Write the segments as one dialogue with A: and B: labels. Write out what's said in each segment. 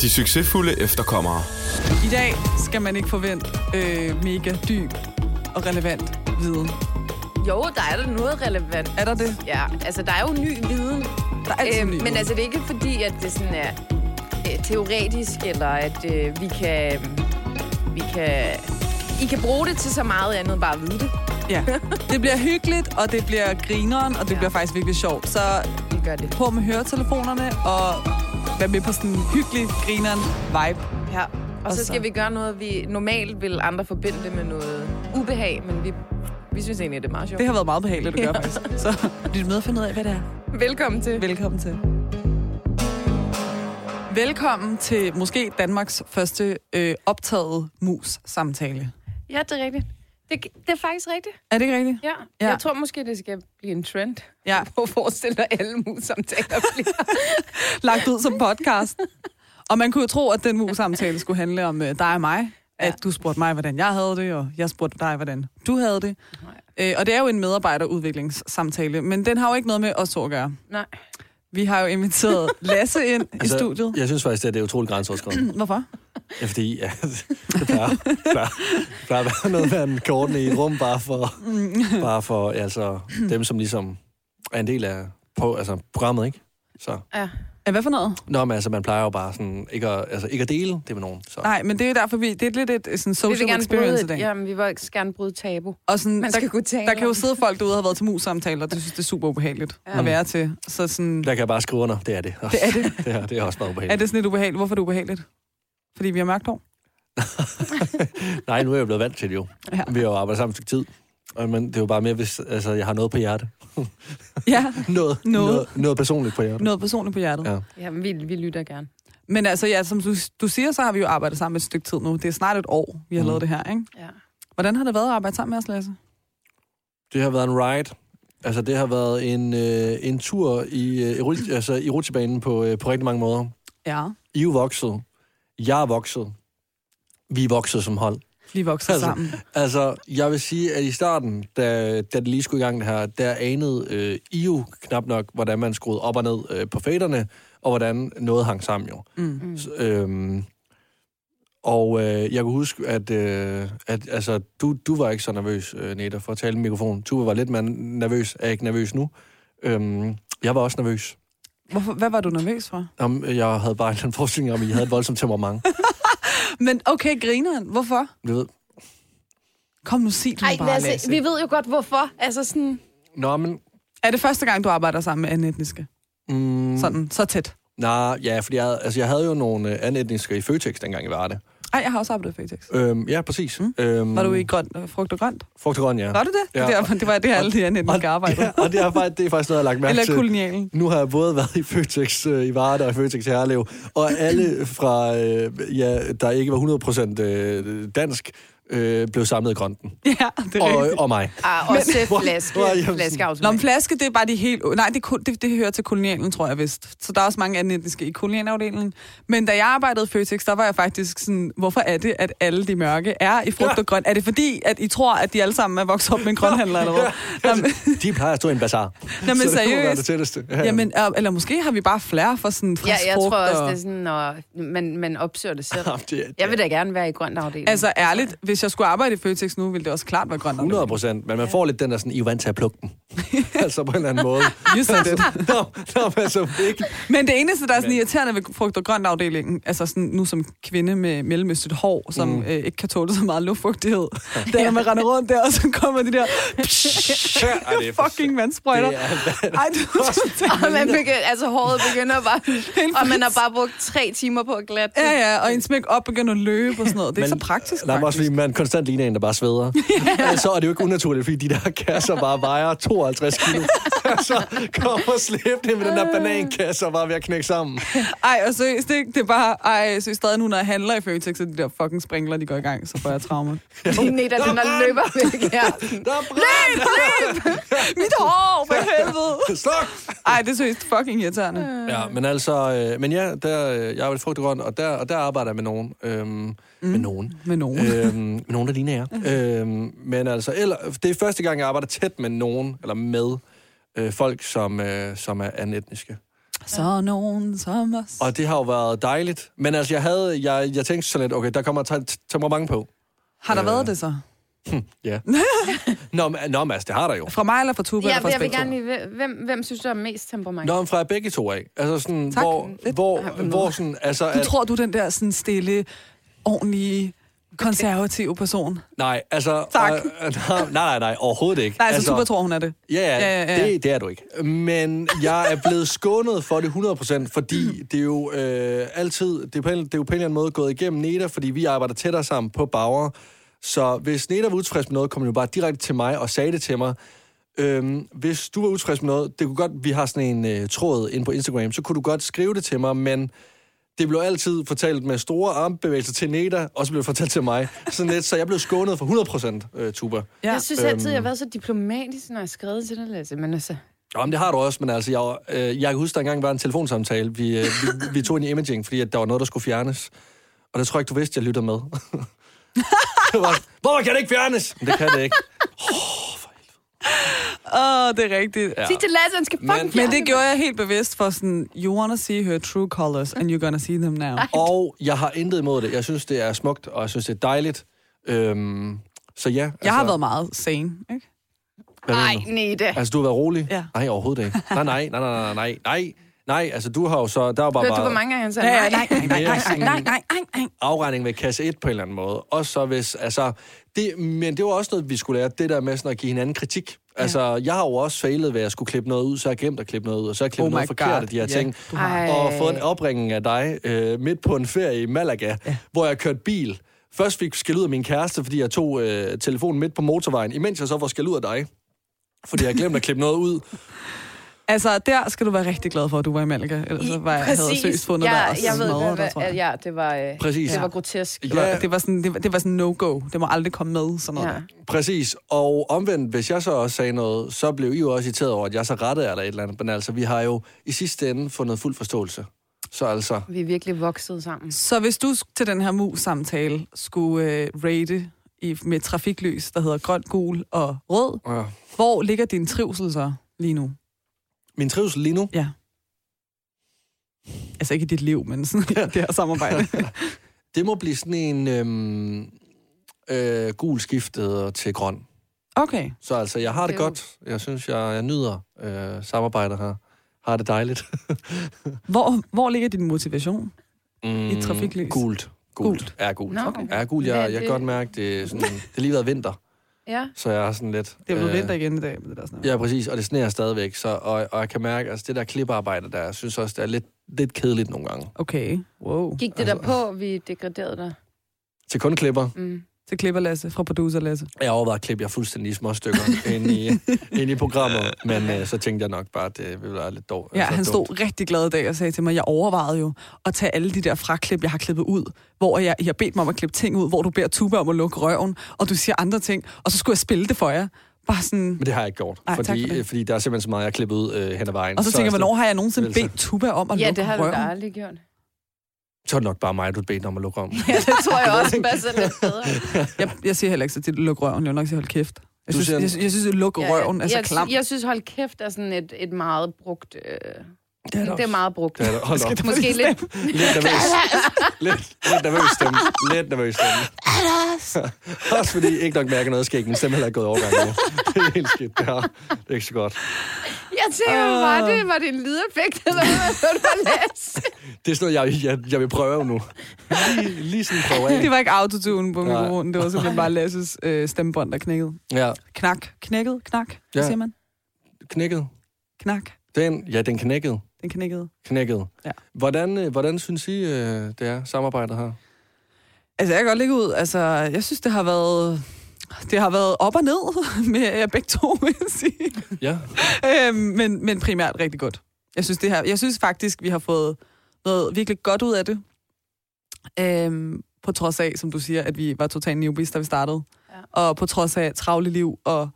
A: De succesfulde efterkommere.
B: I dag skal man ikke forvente øh, mega dyb og relevant viden.
C: Jo, der er der noget relevant.
B: Er der det?
C: Ja, altså der er jo ny viden.
B: Der er altid ny
C: men
B: viden.
C: altså det er ikke fordi, at det sådan er øh, teoretisk, eller at øh, vi kan... Vi kan... I kan bruge det til så meget andet end bare at vide det.
B: Ja. Det bliver hyggeligt, og det bliver grineren, og det ja.
C: Ja.
B: bliver faktisk virkelig sjovt. Så
C: Vi gør det.
B: på med høretelefonerne, og vær med på sådan en hyggelig, grineren vibe.
C: Ja. Og
B: Og
C: så
B: så-
C: skal vi gøre noget, vi normalt vil andre forbinde det med noget ubehag, men vi, vi synes egentlig, det er meget sjovt.
B: Det har været meget behageligt at gøre, ja. faktisk. Så lyt med og find ud af, hvad det er.
C: Velkommen til.
B: Velkommen til. Velkommen til måske Danmarks første øh, optaget mus-samtale.
C: Ja, det er rigtigt. Det, det er faktisk rigtigt.
B: Er det ikke rigtigt?
C: Ja.
B: Ja.
C: ja. Jeg tror måske, det skal blive en trend.
B: Ja.
C: Prøv at forestille dig alle mus-samtaler bliver.
B: Lagt ud som podcast. Og man kunne jo tro, at den mus-samtale skulle handle om øh, dig og mig. At du spurgte mig, hvordan jeg havde det, og jeg spurgte dig, hvordan du havde det.
C: Nej.
B: Øh, og det er jo en medarbejderudviklingssamtale, men den har jo ikke noget med os to at gøre.
C: Nej.
B: Vi har jo inviteret Lasse ind altså, i studiet.
D: Jeg synes faktisk, at det er utroligt grænseoverskridende.
B: Hvorfor?
D: ja, fordi ja, det plejer, plejer, plejer at være noget, man kan ordne i et rum, bare for, bare for ja, altså, dem, som ligesom er en del af på, altså, programmet, ikke? Så,
C: Ja.
B: Ja, hvad for noget?
D: nå, men altså, man plejer jo bare sådan, ikke at, altså, ikke at dele det med nogen. Så.
B: Nej, men det er jo derfor, vi, det er lidt et øh, sådan
C: Vi vil
B: social
C: gerne
B: experience i
C: bryde,
B: dag.
C: jamen, vi vil også gerne bryde tabu.
B: Og sådan,
C: Man
B: der,
C: skal kunne tale
B: der kan jo
C: om-
B: sidde folk derude og har været til mus-samtaler, og det synes, det er super ubehageligt ja. at være til. Så sådan,
D: Der kan jeg bare skrive under, det er det.
B: det er, det,
D: det, er, det er også meget ubehageligt.
B: er det sådan lidt ubehageligt? Hvorfor er det ubehageligt? Fordi vi har mørkt hår?
D: Nej, nu er jeg blevet vant til det jo.
B: Ja.
D: Ja. Vi har jo arbejdet sammen et stykke tid. Og, Men det er jo bare mere, hvis altså, jeg har noget på hjerte.
B: Ja,
D: Noget,
B: Noget.
D: noget, noget personligt på hjerte.
B: noget personligt på hjertet. Ja.
D: Ja.
C: Jamen, vi, vi lytter gerne.
B: Men altså, ja, som du, du siger, så har vi jo arbejdet sammen et stykke tid nu. Det er snart et år, vi har mm.
D: Mm.
B: lavet det her, ikke?
C: Ja.
B: Hvordan har det været at arbejde sammen med os, Lasse?
D: Det har været en ride. Altså, det har været en, øh, en tur i, øh, i rull- altså, i rutsjebanen på, øh, på rigtig mange måder.
B: Ja,
D: I er jo vokset. Jeg er vokset. Vi er vokset som hold.
B: vi voksede altså.
D: Altså.
B: sammen.
D: Altså, jeg vil sige, at i starten, da, da det lige skulle i gang det her, der anede øh, I jo knap nok, hvordan man skruede op og ned øh, på faderne, og hvordan noget hang sammen jo.
B: Mm.
D: Så, øhm, og øh, jeg kan huske, at, øh, at altså, du, du var ikke så nervøs, øh, Neta, for at tale i mikrofonen. Tuve var lidt mere nervøs. Er ikke nervøs nu. Øhm, jeg var også nervøs.
B: Hvorfor, hvad var du nervøs for?
D: Om, øh, jeg havde bare en eller anden forestilling om, at I havde et voldsomt temperament.
B: Men okay, grineren. Hvorfor?
D: Du ved.
B: Kom nu, sig du
C: Ej,
B: bare, Lasse.
C: Lasse, vi ved jo godt, hvorfor. Altså sådan...
D: Nå, men...
B: Er det første gang, du arbejder sammen med anden etniske?
D: Mm,
B: Sådan, så tæt.
D: nej, ja, fordi jeg, havde- altså, jeg havde jo nogle øh, anetniske i Føtex dengang i Varde.
B: Ej, jeg har også arbejdet i Føtex.
D: Øhm, ja, præcis.
B: Mm.
D: Mm. Øhm,
B: Var du i grønt, øh, frugt og grønt?
D: Frugt og grøn, ja.
B: Var du det? Ja.
D: Ja.
B: Det, var, det var det, alle de her
D: Og-
B: netniske arbejdede.
D: ja, og det er, faktisk, det er faktisk noget, jeg har lagt mærke
B: Eller
D: til.
B: kolonialen.
D: Nu har jeg både været i Føtex øh, i Varde og i Føtex i Herlev, og alle fra, øh, ja, der ikke var 100% øh, dansk, øh, blev samlet i grønten.
B: Ja, det er
D: Og,
B: rigtigt.
D: og mig.
C: Ah, også til
D: Hvor-
C: flaske,
D: hvor er jeg-
B: Nå, men
C: flaskeautomat.
B: flaske, det er bare de helt... Nej, det, er kun- det, det hører til kolonialen, tror jeg vist. Så der er også mange anden etniske i kolonialafdelingen. Men da jeg arbejdede i Føtex, der var jeg faktisk sådan, hvorfor er det, at alle de mørke er i frugt
D: Ja.
B: og grønt? Er det fordi, at I tror, at de alle sammen er vokset op med en grønhandler eller hvad? Nå, men-
D: Altså, De plejer at stå i en bazar.
B: Nå, men
D: så det må være
B: seriøst.
D: det tætteste. Ja.
B: Jamen, øh, eller måske har vi bare flere for sådan frisk
C: Ja, jeg
B: frugt
C: tror også,
B: og-
C: det er sådan, når man, man opsøger det selv.
D: Jamen, det er-
C: Jeg vil da gerne være i grøn afdeling.
B: Altså ærligt, hvis jeg skulle arbejde i Føtex nu, ville det også klart være grønt.
D: 100 procent, men man får lidt den der sådan, I er vant til at plukke dem. altså på en eller anden måde.
B: You said it.
D: Nå, nå, men altså ikke.
B: Men det eneste, der er sådan irriterende ved frugt- og grøntafdelingen, altså sådan nu som kvinde med mellemøstet hår, som mm. øh, ikke kan tåle så meget luftfugtighed, det er, når man render rundt der, og så kommer de der psh,
D: Ej, det er for-
B: fucking vandsprøjter.
D: Det er-
B: Ej, det er totalt-
C: Og man begynder, altså håret begynder bare, og man har bare brugt tre timer på at glatte. det.
B: Ja, ja, og ens make op begynder at løbe og sådan noget. Det er ikke så praktisk,
D: Nej, men også fordi
B: faktisk.
D: man konstant ligner en, der bare sveder. yeah. Så er det jo ikke unaturligt, fordi de der kasser bare vejer 52 kilo. så kommer slæbende med den
B: Øh.
D: der banankasse og bare ved at knække sammen.
B: Ej, og seriøst, det, det er bare... Ej, seriøst, stadig nu, når jeg handler i Føtex, så de der fucking sprinkler, de går i gang, så får jeg traume.
C: Din netter, den der løber væk her.
D: Der er brand!
B: Mit hår, for helvede!
D: Sluk!
B: Ej, det er seriøst fucking irriterende.
D: Ja, men altså, øh, men ja, der, øh, jeg er vel frugt og grønt, og der, og der arbejder jeg med nogen. Øhm, mm. Med nogen.
B: Med nogen.
D: øhm, med nogen, der ligner jer.
B: Mm.
D: øhm, men altså, eller, det er første gang, jeg arbejder tæt med nogen, eller med øh, folk, som, øh, som er anetniske.
B: Så nogen som os.
D: Og det har jo været dejligt. Men altså, jeg, havde, jeg, jeg tænkte sådan lidt, okay, der kommer te- te- temperament på.
B: Har
D: Øh.
B: der været det så?
D: Ja. nå, men, nå, men altså, det har der jo.
B: Fra mig eller fra Tuba?
C: Ja,
B: eller fra
C: jeg vil
B: Spektrum?
C: gerne lige... Hvem, hvem synes, der er mest temperament?
D: Nå, men fra begge to af. Altså sådan,
B: Tak.
D: hvor,
B: Fedt.
D: hvor,
C: Ej, hvor
D: hvor sådan, altså...
B: Du tror, du er den der sådan stille, ordentlige, konservative person?
D: Nej, altså...
B: Tak.
D: Øh, nej, nej, nej, overhovedet ikke.
B: Nej, altså, Tuba tror, hun er det.
D: Ja,
B: Ja,
D: ja, ja,
B: ja, ja.
D: Det, det er du ikke. Men jeg er blevet skånet for det 100%, fordi det er jo øh, altid, det er, på en, det er jo på en eller anden måde gået igennem Neda, fordi vi arbejder tættere sammen på Bauer. Så hvis Neda var utilfreds med noget, kom hun jo bare direkte til mig og sagde det til mig. Øhm, hvis du var utilfreds med noget, det kunne godt, vi har sådan en øh, tråd inde på Instagram, så kunne du godt skrive det til mig, men det blev altid fortalt med store armbevægelser til Neda, og så blev det fortalt til mig. Sådan lidt, så jeg blev skånet for 100% øh, tuber.
B: Ja.
C: Jeg synes altid, jeg har været så diplomatisk, når jeg har skrevet til dig, Lasse. Men altså,
D: Nå, men det har du også, men altså, jeg, var- øh, jeg kan huske, der engang var en telefonsamtale, vi, øh, vi, vi tog ind i imaging, fordi at der var noget, der skulle fjernes. Og det tror jeg ikke, du vidste, jeg lytter med. det var, Hvorfor kan det ikke fjernes? Men det kan det ikke.
B: Åh, det er rigtigt.
C: ja. sig til Lasse, han skal fucking
D: Men-
B: Men det gjorde jeg helt bevidst for sådan, you wanna see her true colors, and you're gonna see them now.
D: Og jeg har intet imod det. Jeg synes, det er smukt, og jeg synes, det er dejligt. Øhm, så ja. Altså,
B: Jeg har været meget sane, ikke?
D: hvad mener
C: Nej,
D: du?
C: Nita.
D: Altså, du har været rolig?
B: Ja.
D: Nej, overhovedet ikke. Nej, nej, nej, nej, nej, nej, nej. Nej, altså, du har jo så... Der var bare,
C: Hørte du, hvor
D: bare
C: mange gange han sagde
B: Nej,
C: nej?
B: nej, nej, nej, nej,
D: sådan-
B: nej, nej, nej, nej.
D: afregning med kasse 1 på en eller anden måde. Og så hvis, altså, det, men det var også noget, vi skulle lære, det der med sådan at give hinanden kritik. Altså, jeg har jo også fejlet, ved at jeg skulle klippe noget ud, så har jeg glemt at klippe noget ud, og så har jeg klippet
B: Oh
D: oh
B: my
D: noget forkert
B: God,
D: af de her
B: ja.
D: ting.
C: har.
D: Og
C: Ej.
D: fået en opringning af dig øh, midt på en ferie i Malaga, hvor jeg kørte bil. Først fik skæld ud af min kæreste, fordi jeg tog øh, telefonen midt på motorvejen, imens jeg så får skæld ud af dig. Fordi jeg glemte at klippe noget ud.
B: Altså, der skal du være rigtig glad for, at du var i Malaga. Ellers så var jeg, havde jeg søst fundet
C: ja,
B: dig og
C: jeg ved,
B: smadret
C: hvad,
B: dig, tror
C: hvad,
B: jeg.
C: ja, det var, øh,
D: Præcis.
C: det var
D: Ja.
C: grotesk.
B: Det var-
D: Ja.
B: Det var sådan, det var, det var sådan no-go. Det må aldrig komme med, sådan noget.
C: Ja.
B: Ja.
D: Præcis, og omvendt, hvis jeg så også sagde noget, så blev I jo også irriteret over, at jeg så rettede jer eller et eller andet. Men altså, vi har jo i sidste ende fundet fuld forståelse. Så altså,
C: Vi er virkelig vokset sammen.
B: Så hvis du til den her mus-samtale skulle øh, rate i, med trafiklys, der hedder grøn, gul og rød,
D: ja.
B: hvor ligger din trivsel så lige nu?
D: min trivsel lige nu,
B: Ja. Altså ikke i dit liv, men sådan i det her samarbejde.
D: det må blive sådan en øhm, øh, gul skiftet til grøn.
B: Okay.
D: Så altså, jeg har det
C: Det er jo-
D: godt. Jeg synes, jeg, jeg nyder øh, samarbejdet her. Har det dejligt.
B: Hvor, hvor ligger din motivation?
D: Mm,
B: trafiklys.
D: Gult.
B: Gult.
D: Gult. Er gult.
C: Nå.
D: Okay. Er gult. Jeg,
C: Hvad er
D: jeg kan
C: det?
D: godt mærke, det, er sådan, det har lige været vinter,
C: Ja.
D: så jeg er sådan lidt...
B: Det er blevet
D: øh,
B: vinter igen i dag. Med det der sådan
D: Ja, præcis, og det sneer stadigvæk, så, og, og jeg kan mærke, altså det der klippearbejde der, jeg synes også, det er lidt, lidt kedeligt nogle gange.
B: Okay. Wow.
C: Gik det der på, vi degraderede dig?
D: Til kun klipper.
C: Mm.
B: Til klipper Lasse fra producer Lasse.
D: Jeg overvejede at klippe jer fuldstændig i små stykker ind, i, ind i programmet, men øh, så tænkte jeg nok bare, at det ville være lidt dårligt. altså,
B: Ja, han stod rigtig glad i dag og sagde til mig, jeg overvejede jo at tage alle de der fraklip, jeg har klippet ud, hvor jeg, I har bedt mig om at klippe ting ud, hvor du beder Tuba om at lukke røven, og du siger andre ting, og så skulle jeg spille det for jer. Bare sådan...
D: Men det har jeg ikke gjort,
B: Ej, tak
D: fordi,
B: for det.
D: øh, fordi der er simpelthen så meget, jeg har klippet ud øh, hen ad vejen.
B: Og så tænker jeg,
D: er
B: hvornår har jeg nogensinde
D: Vel, så-
B: bedt Tuba om at
C: Ja,
B: lukke
C: det har du
B: røven?
C: da aldrig gjort.
D: sådan- Så er det nok bare mig, du bedte om at lukke om.
C: Ja, det tror jeg også passer lidt bedre.
B: Jeg, jeg siger heller ikke så tit, luk røven. Jeg vil nok sige, hold kæft. Jeg
D: Du
B: synes,
D: siger-
B: jeg, jeg synes at luk røven er så
C: jeg,
B: klam.
C: Jeg, jeg synes, hold kæft er sådan et, et meget brugt... Øh, det, er det er meget brugt.
D: Det er der. Hold op.
C: Måske lidt... altså,
D: Lidt nervøs. lidt, lidt nervøs stemme. Lidt nervøs stemme. Også fordi ikke nok mærker noget skæg, men stemmen heller ikke gået overgang nu. Det er helt skidt, det her. Det er ikke så godt.
C: Jeg tænker, uh. var, det, var det en lydeffekt, eller hvad var det, du læste?
D: Det er sådan noget, jeg, jeg, jeg vil prøve nu. Lige, lige sådan prøve
B: Det
D: af.
B: var ikke autotune på
D: Nej.
B: mikrofonen, det var simpelthen bare Lasses øh, stemmebånd, der knækkede.
D: Ja,
B: Knak. Knækket? Knak? Hvad
D: Ja.
B: siger man?
D: knækket.
B: Knak.
D: Den, ja, den knækkede.
B: Den knækkede.
D: Knækkede.
B: Ja.
D: Hvordan, øh, hvordan synes I, øh, det er samarbejdet her?
B: Altså, jeg kan godt lægge ud. Altså, jeg synes, det har været... Det har været op og ned med jer begge to, vil jeg sige.
D: Ja.
B: Øhm, men, men primært rigtig godt. Jeg synes, det her, jeg synes faktisk, vi har fået noget virkelig godt ud af det. Øhm, på trods af, som du siger, at vi var totalt newbies, da vi startede.
C: Ja.
B: Og på trods af travle liv og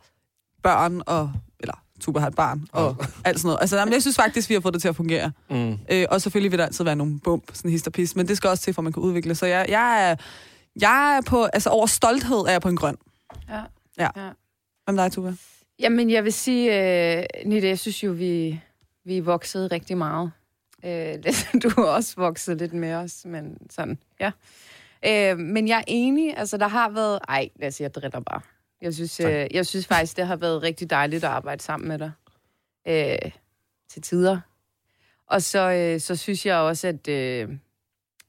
B: børn og, eller Tuba har et barn og alt sådan noget. Altså, jamen, jeg synes faktisk, vi har fået det til at fungere.
D: Mm.
B: Øh, og selvfølgelig vil der altid være nogle bump, sådan hist og pis, men det skal også til, for at man kan udvikle. Så jeg, jeg, er, jeg er på, altså over stolthed er jeg på en grøn.
C: Ja.
B: Ja.
C: Ja.
B: Hvem dig, Tuba?
C: Jamen, jeg vil sige, øh, Nita, jeg synes jo, vi, vi er vokset rigtig meget. Øh, du har også vokset lidt med os, men sådan, ja. Øh, men jeg er enig, altså der har været... Ej, lad os sige, jeg driller bare. Jeg synes, øh, jeg synes faktisk, det har været rigtig dejligt at arbejde sammen med dig. Øh, til tider. Og så, øh, så synes jeg også, at, øh,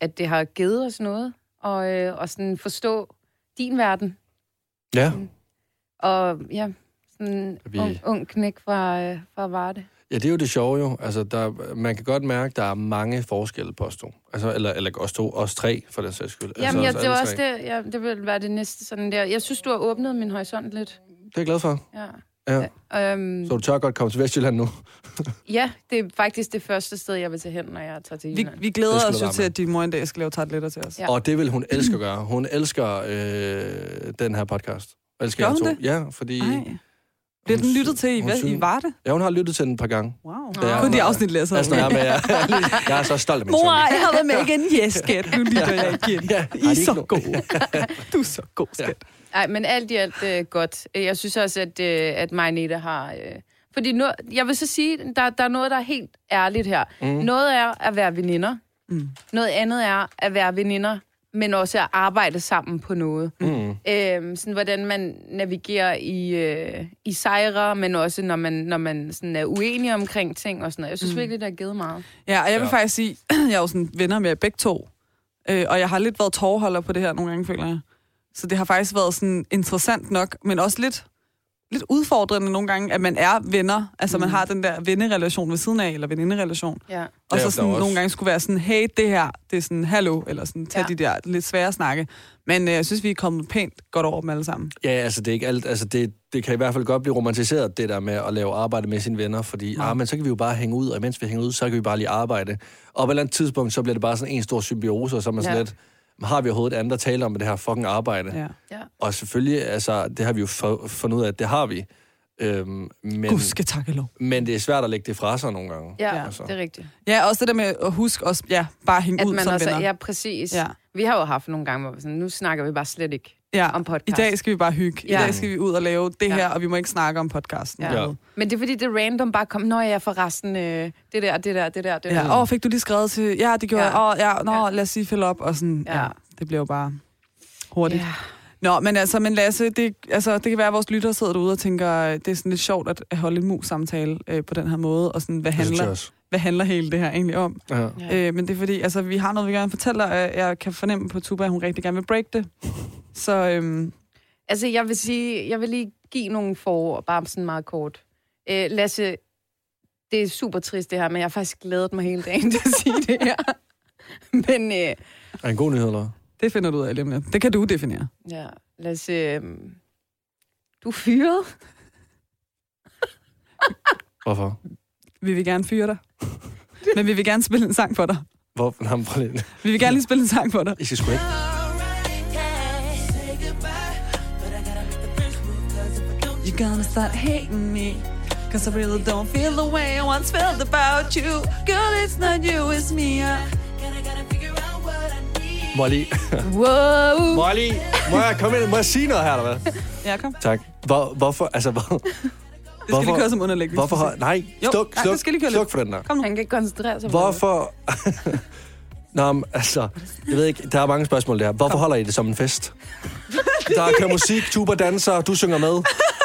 C: at det har givet os noget. Og, øh, og sådan forstå din verden.
D: Ja.
C: Og ja, sådan
D: Vi-
C: vi... ung, ung knæk fra, øh, fra Varde.
D: Ja, det er jo det sjove jo. Altså, der, man kan godt mærke, at der er mange forskelle på os to. Altså, eller, eller os to, os tre, for den sags skyld.
C: Jamen,
D: altså,
C: ja,
D: os
C: det
D: alle
C: var
D: tre.
C: også det, ja, det ville være det næste sådan der. Jeg synes, du har åbnet min horisont lidt.
D: Det er jeg glad for.
C: Ja.
D: Ja.
C: Øhm,
D: Så du tør godt komme til Vestjylland nu.
C: ja, det er faktisk det første sted, jeg vil tage hen, når jeg tager til
B: Vi,
C: Jylland.
B: vi
D: Det
B: glæder
D: skal
B: os
D: du
B: jo
D: være
B: til,
D: med.
B: at din mor en dag skal lave tartletter til os.
C: Ja.
B: Ja.
D: Og det vil hun elske at gøre. Hun elsker øh, den her podcast. Og elsker
B: Gør
D: jer
B: hun
D: to.
B: det?
D: Ja, fordi...
B: Ej. Bliver
D: Hun
B: den
D: sy-
B: lyttet til i,
D: hun
B: hvad,
D: synes-
B: i Varde?
D: Ja, hun har lyttet til den et par gange.
B: Wow.
D: Ja,
B: Kun de
D: og-
B: afsnit læser.
D: Altså, når jeg, er med, jeg, jeg er så stolt af min søn.
B: Mor, jeg har været med igen. Yes, skat. Nu lytter jeg igen.
D: Ja,
B: I
D: ej,
B: er
D: det er
B: så
D: ikke
B: gode. Du er så god, skat.
C: Nej, men alt i alt øh, godt. Øh, Jeg synes også, at, øh, at mig og Nita har... Øh, fordi no, jeg vil så sige, der, der er noget, der er helt ærligt her. Mm. Noget er at være veninder. Mm. Noget andet er at være veninder, men også at arbejde sammen på noget. Mm. Øh, sådan, hvordan man navigerer i, øh, i sejre, men også når man, når man sådan er uenig omkring ting og sådan noget. Jeg synes mm. virkelig, det har givet meget.
B: Ja, og jeg vil
D: Ja.
B: faktisk sige, jeg er jo sådan venner med jer begge to. Øh, og jeg har lidt været tårholder på det her nogle gange, føler jeg. Så det har faktisk været sådan interessant nok, men også lidt, lidt udfordrende nogle gange, at man er venner. Altså, mm. man har den der vennerelation ved siden af, eller veninderelation.
C: Ja.
B: Og så
D: Ja, der er
B: sådan,
D: også-
B: nogle gange skulle være sådan, hey, det her, det er sådan, hallo, eller sådan, tag
C: Ja.
B: ja. de der lidt svære snakke. Men øh, jeg synes, vi er kommet pænt godt over dem alle sammen.
D: Ja, altså det er ikke alt. Altså det, det kan i hvert fald godt blive romantiseret, det der med at lave arbejde med sine venner, fordi ah, men så kan vi jo bare hænge ud, og mens vi hænger ud, så kan vi bare lige arbejde. Og på et eller andet tidspunkt, så bliver det bare sådan en stor symbiose, og så er man ja.
C: Ja.
D: sådan lidt, "Men har vi overhovedet andet at tale om med det her fucking arbejde? Ja.
B: Ja.
C: ja.
D: Og selvfølgelig, altså, det har vi jo for, fundet ud af, at det har vi. Øhm, men,
B: Gud skal takke lov.
D: men det er svært at lægge det fra sig nogle gange.
C: Ja,
D: Altså.
C: det er rigtigt.
B: Ja, også det der med at huske også, ja, bare hænge
C: At
B: ud
C: man
B: som
C: også,
B: venner.
C: ja, præcis.
B: Ja.
C: Ja. Vi har jo haft nogle gange, hvor vi sådan, nu snakker vi bare slet ikke
B: ja.
C: om podcast.
B: I dag skal vi bare hygge.
C: Ja.
B: I dag skal vi ud og lave det
C: Ja.
B: her, og vi må ikke snakke om podcasten.
C: Ja.
D: Ja.
C: Men det er fordi, det er random bare kom, når jeg forresten, øh, det der, det der, det der, det der.
B: Ja. Åh, fik du lige skrevet til... Ja, det gjorde
C: Ja.
B: ja. jeg. Åh, ja, nå,
C: Ja.
B: ja. lad os lige følge op. Og sådan, ja.
C: Ja.
B: ja. Det bliver jo bare hurtigt.
C: Ja.
B: Nå, men altså, men Lasse, det, altså, det kan være, at vores lytter sidder derude og tænker, øh, det er sådan lidt sjovt at at holde en mus-samtale øh, på den her måde, og sådan, hvad
D: Det synes jeg
B: handler,
D: også.
B: hvad handler hele det her egentlig om?
D: Ja.
C: Ja.
B: Øh, men det er fordi, altså, vi har noget, vi gerne vil fortælle, og jeg- jeg kan fornemme på Tuba, at hun rigtig gerne vil break det. Så øhm,
C: Altså, jeg vil sige, jeg vil lige give nogle forord, bare sådan meget kort. Øh, Lasse, det er super trist det her, men jeg har faktisk glædet mig hele dagen til at sige det her. Men øh,
D: Er en god nyhed, eller?
B: det finder du ud af lige om lidt. Det kan du definere.
C: ja, Lasse, øh, du er fyret.
D: Hvorfor?
B: Vi vil gerne fyre dig. Men vi vil gerne spille en sang for dig.
D: Hvor? Nå, men prøv lige.
B: Vi vil gerne lige spille en sang for dig.
D: I skal sgu ikke.
B: You're gonna start hating me Cause I really don't feel the way I once felt about you Girl, it's not you, it's me
D: Molly.
C: Wow!
D: Molly, må jeg komme ind? Må jeg sige noget her, eller hvad?
B: Ja, kom. Det
D: Tak. Hvor, hvorfor? Altså, hvor,
B: skal lige køre som underlægning.
D: Hvorfor har... Nej,
B: Jo,
D: sluk,
B: nej,
D: sluk,
B: det skal lige køre
D: sluk
B: lidt.
D: for den der.
B: Kom nu.
C: Han kan ikke koncentrere sig på
D: Hvorfor... Nå, men, altså, jeg ved ikke, der er mange spørgsmål der. Hvorfor holder I det som en fest? Der er kører musik, tuber danser, du synger med.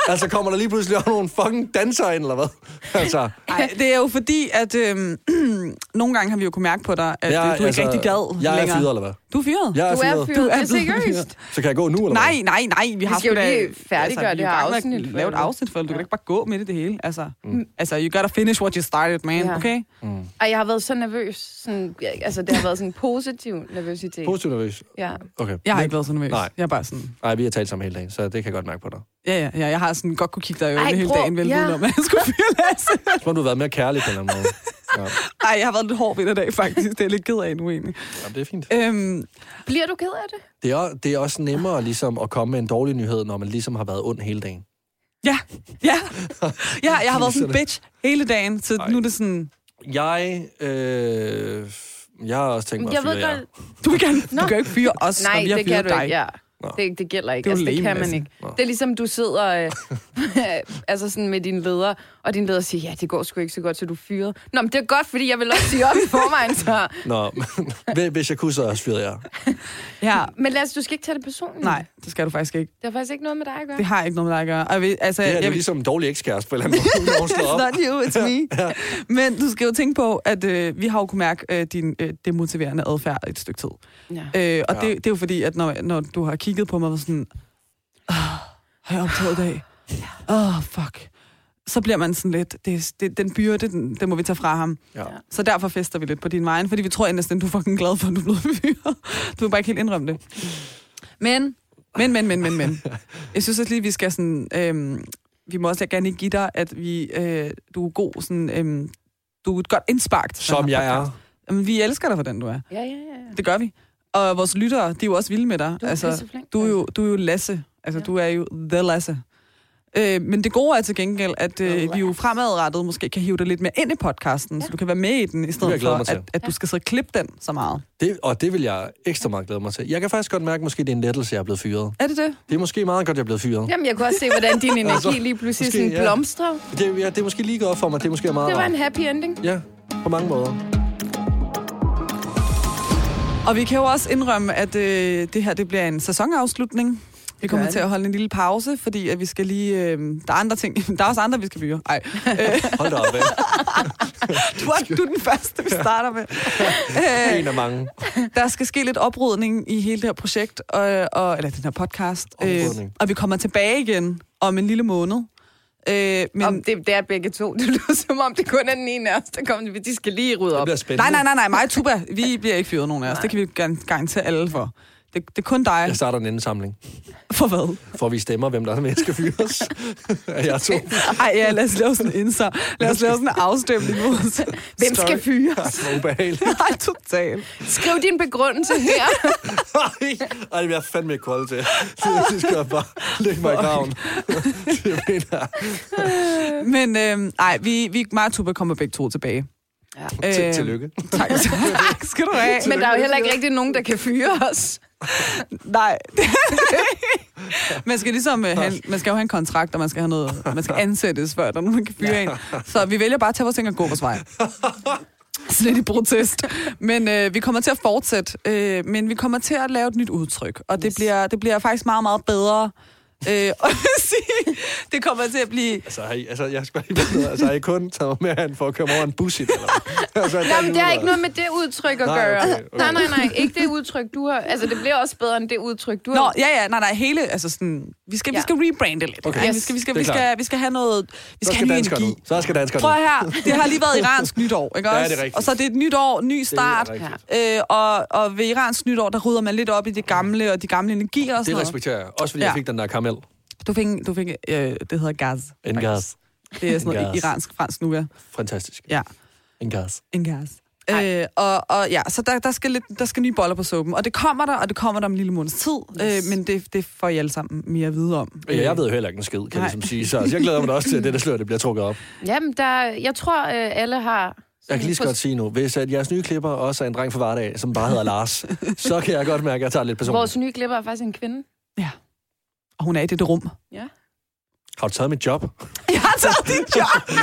D: Altså, kommer der lige pludselig også nogle fucking dansere ind, eller hvad? Altså,
B: Ej, det er jo fordi, at øhm, nogle gange har vi jo kunnet mærke på dig, at jeg, du er ikke rigtig gad
D: altså, Jeg er
B: længere.
D: fyret, eller hvad?
B: Du er fyret?
D: Jeg er,
C: Du er
D: fyret.
C: fyret,
B: Du er
C: det er
B: blevet
C: seriøst.
B: fyret.
D: Så kan jeg gå nu, eller
B: Nej, nej, nej. Vi, har
C: skal jo
B: sgu da- Altså,
C: lige færdiggøre
B: vi er
C: det her
B: jo i gang med at
C: afsnit, for
B: Lave et
C: helvede.
B: afsnit for det. Du
C: Ja.
B: kan ikke bare gå midt i det hele. Altså, mm. altså you gotta finish what you started, man.
C: Ja.
B: Ja. Okay?
D: Mm.
C: Og jeg har været så nervøs. Sådan, ja, altså, det har været sådan en positiv nervøsitet.
D: hvad? Positivt nervøs.
C: Ja.
D: Okay.
B: Jeg har ikke været så nervøs.
D: Nej.
B: Jeg er bare sådan...
D: Nej, vi har talt sammen hele dagen, så det kan jeg godt mærke på dig.
B: Ja, ja, ja. Jeg har sådan godt kunne kigge dig i
C: Ej,
B: øjnene hele
C: bror,
B: dagen, vel
C: ja.
B: ja. om, at jeg skulle fyre Lasse.
D: Så må du have været mere kærlig på en eller anden måde. Ja,
B: Ej, jeg har været lidt hård ved i dag, faktisk. Det er jeg lidt ked af nu, egentlig.
D: Jamen, det er fint.
B: Øhm,
C: Bliver du ked af det?
D: Det er, det er også nemmere ligesom at komme med en dårlig nyhed, når man ligesom har været ond hele dagen.
B: Ja, ja. ja jeg har været sådan en
D: Sådan.
B: bitch hele dagen, så
D: Ej.
B: nu er det sådan,
D: Jeg, øh, jeg har også tænkt mig
C: Jeg
D: at fyre
C: ved
D: jer.
C: godt...
B: du kan, du
C: Nå.
B: kan jo ikke fyre os,
C: Nej,
B: når vi har
C: det kan
B: fyret
C: du
B: dig.
C: ikke, ja.
D: Nå.
C: Det, det gælder ikke.
B: Det er
C: Det,
B: jo
C: altså, det
B: lame,
C: kan man
B: altså.
C: ikke.
D: Nå.
C: Det er ligesom, du sidder øh, altså sådan med din leder, og din leder siger, ja, det går sgu ikke så godt, så du er fyret. Nå, men det er godt, fordi jeg vil også sige op i forvejen, så...
D: Nå, men hvis jeg kunne, så havde jeg også fyret jer.
B: ja.
C: Men Lasse, du skal ikke tage det personligt.
B: Nej, det skal du faktisk ikke.
C: Det har faktisk ikke noget med dig at gøre.
B: Det har ikke noget med dig at gøre. Og Jeg ved, altså,
D: Det her det er
B: jeg,
D: jo ligesom en dårlig ekskæreste på en eller anden måde, når hun slår op.
B: It's not you, it's me. Men du skal jo tænke på, at øh, vi har jo kunnet mærke øh, din øh, demotiverende adfærd et stykke tid.
C: Ja.
B: Øh, og ja.
D: Ja.
B: det, det er jo fordi, at når, når du har kigget på mig og sådan, "Ah, har jeg optaget i dag? Åh, oh, fuck. Så bliver man sådan lidt, det, det, den byrde, den, den må vi tage fra ham.
D: Ja.
B: Så derfor fester vi lidt på din vejen, fordi vi tror endda, at du er fucking glad for, at du er blevet fyret. Du vil bare ikke helt indrømme det. Men, men, men, men, men, men. Jeg synes også lige, vi skal sådan... Øhm, vi må også gerne lige give dig, at vi, øh, du er god sådan... Øhm, du er et godt indspark. til den
D: Som
B: her
D: jeg er.
B: podcast. Jamen, vi elsker dig, hvordan du er.
C: Ja, ja, ja. ja.
B: Det gør vi. Og vores lyttere, de er jo også vilde med dig.
C: Du er
B: altså,
C: pisseflink,
B: du, er jo,
C: Lasse.
B: du er jo Lasse. Altså, ja.
C: Ja.
B: du er jo the Lasse. Øh, men det gode er til gengæld, at øh, vi jo fremadrettet måske kan hive dig lidt mere ind i podcasten, ja. så du kan være med i den, i
D: vil
B: stedet for,
D: jeg glæde mig
B: at,
D: til.
B: at du skal sidde og klippe den så meget.
D: Det, og det vil jeg ekstra meget glæde mig til. Jeg kan faktisk godt mærke, at måske det er en lettelse, jeg er blevet fyret.
B: Er det det?
D: Det er måske meget godt, jeg er blevet fyret.
C: Jamen, jeg kunne også se, hvordan din energi
D: Altså,
C: lige pludselig
D: måske,
C: sådan
D: ja.
C: blomstrer.
D: Det, ja, det er måske lige godt for mig. Det er måske meget
C: Det var en
D: rart.
C: happy ending.
D: Ja, på mange måder.
B: Og vi kan jo også indrømme, at øh, det her det bliver en sæsonafslutning. Vi
C: Det
B: kommer
C: gør
B: til
C: det.
B: at holde en lille pause, fordi at vi skal lige... Øh, der er andre ting. Der er også andre, vi skal byre. Ej,
D: Hold da op, hvad?
B: du er, du er den første, vi starter med. Øh,
D: En af mange.
B: Der skal ske lidt oprydning i hele det her projekt, og, og, eller den her podcast. øh,
D: Oprydning.
B: og vi kommer tilbage igen om en lille måned. Øh, men,
C: Om det, det er begge to. Det lyder som om, det kun er den ene af os, der kommer. De skal lige rydde
D: Det
C: op.
D: bliver spændende.
B: nej, nej, nej, nej, mig og Tuba, vi bliver ikke fyret nogen af os.
C: Nej.
B: Det kan vi gar- garantere alle for. Det, det er kun dig.
D: Jeg starter en indsamling,
B: For hvad?
D: for vi stemmer, hvem der er, der skal fyres. Af jer to.
B: Ej, ja, lad os lave sådan en indser. Lad os lave sådan en afstemning.
C: Hvem skal fyre?
D: Ej, hvor ubehageligt.
B: Nej, totalt.
C: Skriv din begrundelse her.
D: Ej, det vil jeg fandme ikke kolde til. Det, det skal jeg bare lægge mig i graven. Det mener jeg.
B: Men øh, ej, vi, vi, mig og Tuba kommer begge to tilbage.
C: Ja.
D: Til-
B: Øh,
D: Tillykke.
B: Tak, tak skal du have.
C: Men der er jo heller ikke rigtig nogen, der kan fyre os.
B: Nej. man, skal ligesom, øh, have, man skal jo have en kontrakt, og man skal, have noget, man skal ansættes, før der er nogen, der kan fyre en. Så vi vælger bare at tage vores ting og gå vores vej. Sådan lidt i protest. Men øh, vi kommer til at fortsætte, øh, men vi kommer til at lave et nyt udtryk, og det,
C: Yes.
B: bliver, det bliver faktisk meget, meget bedre. Øh, og sige, det kommer til at blive...
D: Altså, har I, altså, jeg skal bare lige vide noget. altså, har I kun taget mig med herhen for at køre mig over en bus i det, eller hvad? altså,
C: Nej, men det har ikke noget med det udtryk at
D: Nej,
C: gøre.
D: okay, okay.
C: Nej, nej, nej. Ikke det udtryk, du har... Altså, det bliver også bedre end det udtryk, du
B: Nå,
C: har.
B: ja, ja, nej, nej, hele, altså sådan, vi skal, vi
C: Ja.
B: skal rebrande lidt.
D: Okay.
B: Ej, vi,
C: Yes.
B: skal, vi, skal,
D: Det er
B: vi,
D: klart.
B: skal, vi skal have noget, vi
D: Så
B: skal,
D: skal
B: have ny
D: danskerne
B: energi.
D: ud. Så skal danskerne
B: Prøv
D: ud.
B: her, det har lige været iransk nytår, ikke
D: Ja,
B: også?
D: det er rigtigt.
B: Og så er det et nyt år, ny
D: Det er
B: start.
D: rigtigt.
B: Øh, og, og ved iransk nytår, der rydder man lidt op i det gamle og de gamle energier og
D: Det
B: sådan noget.
D: respekterer jeg. Også fordi
B: Ja.
D: jeg fik den der karamel.
B: Du fik, en- du fik øh, det hedder gaz.
D: En
B: faktisk.
D: gaz.
B: Det er sådan
D: En
B: noget
D: gaz.
B: iransk, fransk nu, ja.
D: Fantastisk.
B: ja.
D: En gas.
B: En gaz.
C: Ej.
B: Øh, og, og ja, så der, der, skal lidt, der skal nye boller på suppen. Og det kommer der, og det kommer der om en lille måneds tid. Yes.
C: Yes.
B: Øh, men det, det får I alle sammen mere at vide om.
D: Ja, jeg ved jo heller ikke en skid, kan jeg
B: Nej.
D: ligesom sige. Så altså, jeg glæder mig da også til, at det der slør, det bliver trukket op.
C: Jamen, der... Jeg tror, øh, alle har...
D: Jeg kan lige så godt sige nu, hvis at jeres nye klipper også er en dreng fra hverdag, som bare hedder Lars, så kan jeg godt mærke, at jeg tager det lidt personligt.
C: Vores nye klipper er faktisk en kvinde.
B: Og hun er i det rum.
C: Ja.
D: Har du taget mit job?
B: Jeg har taget dit job!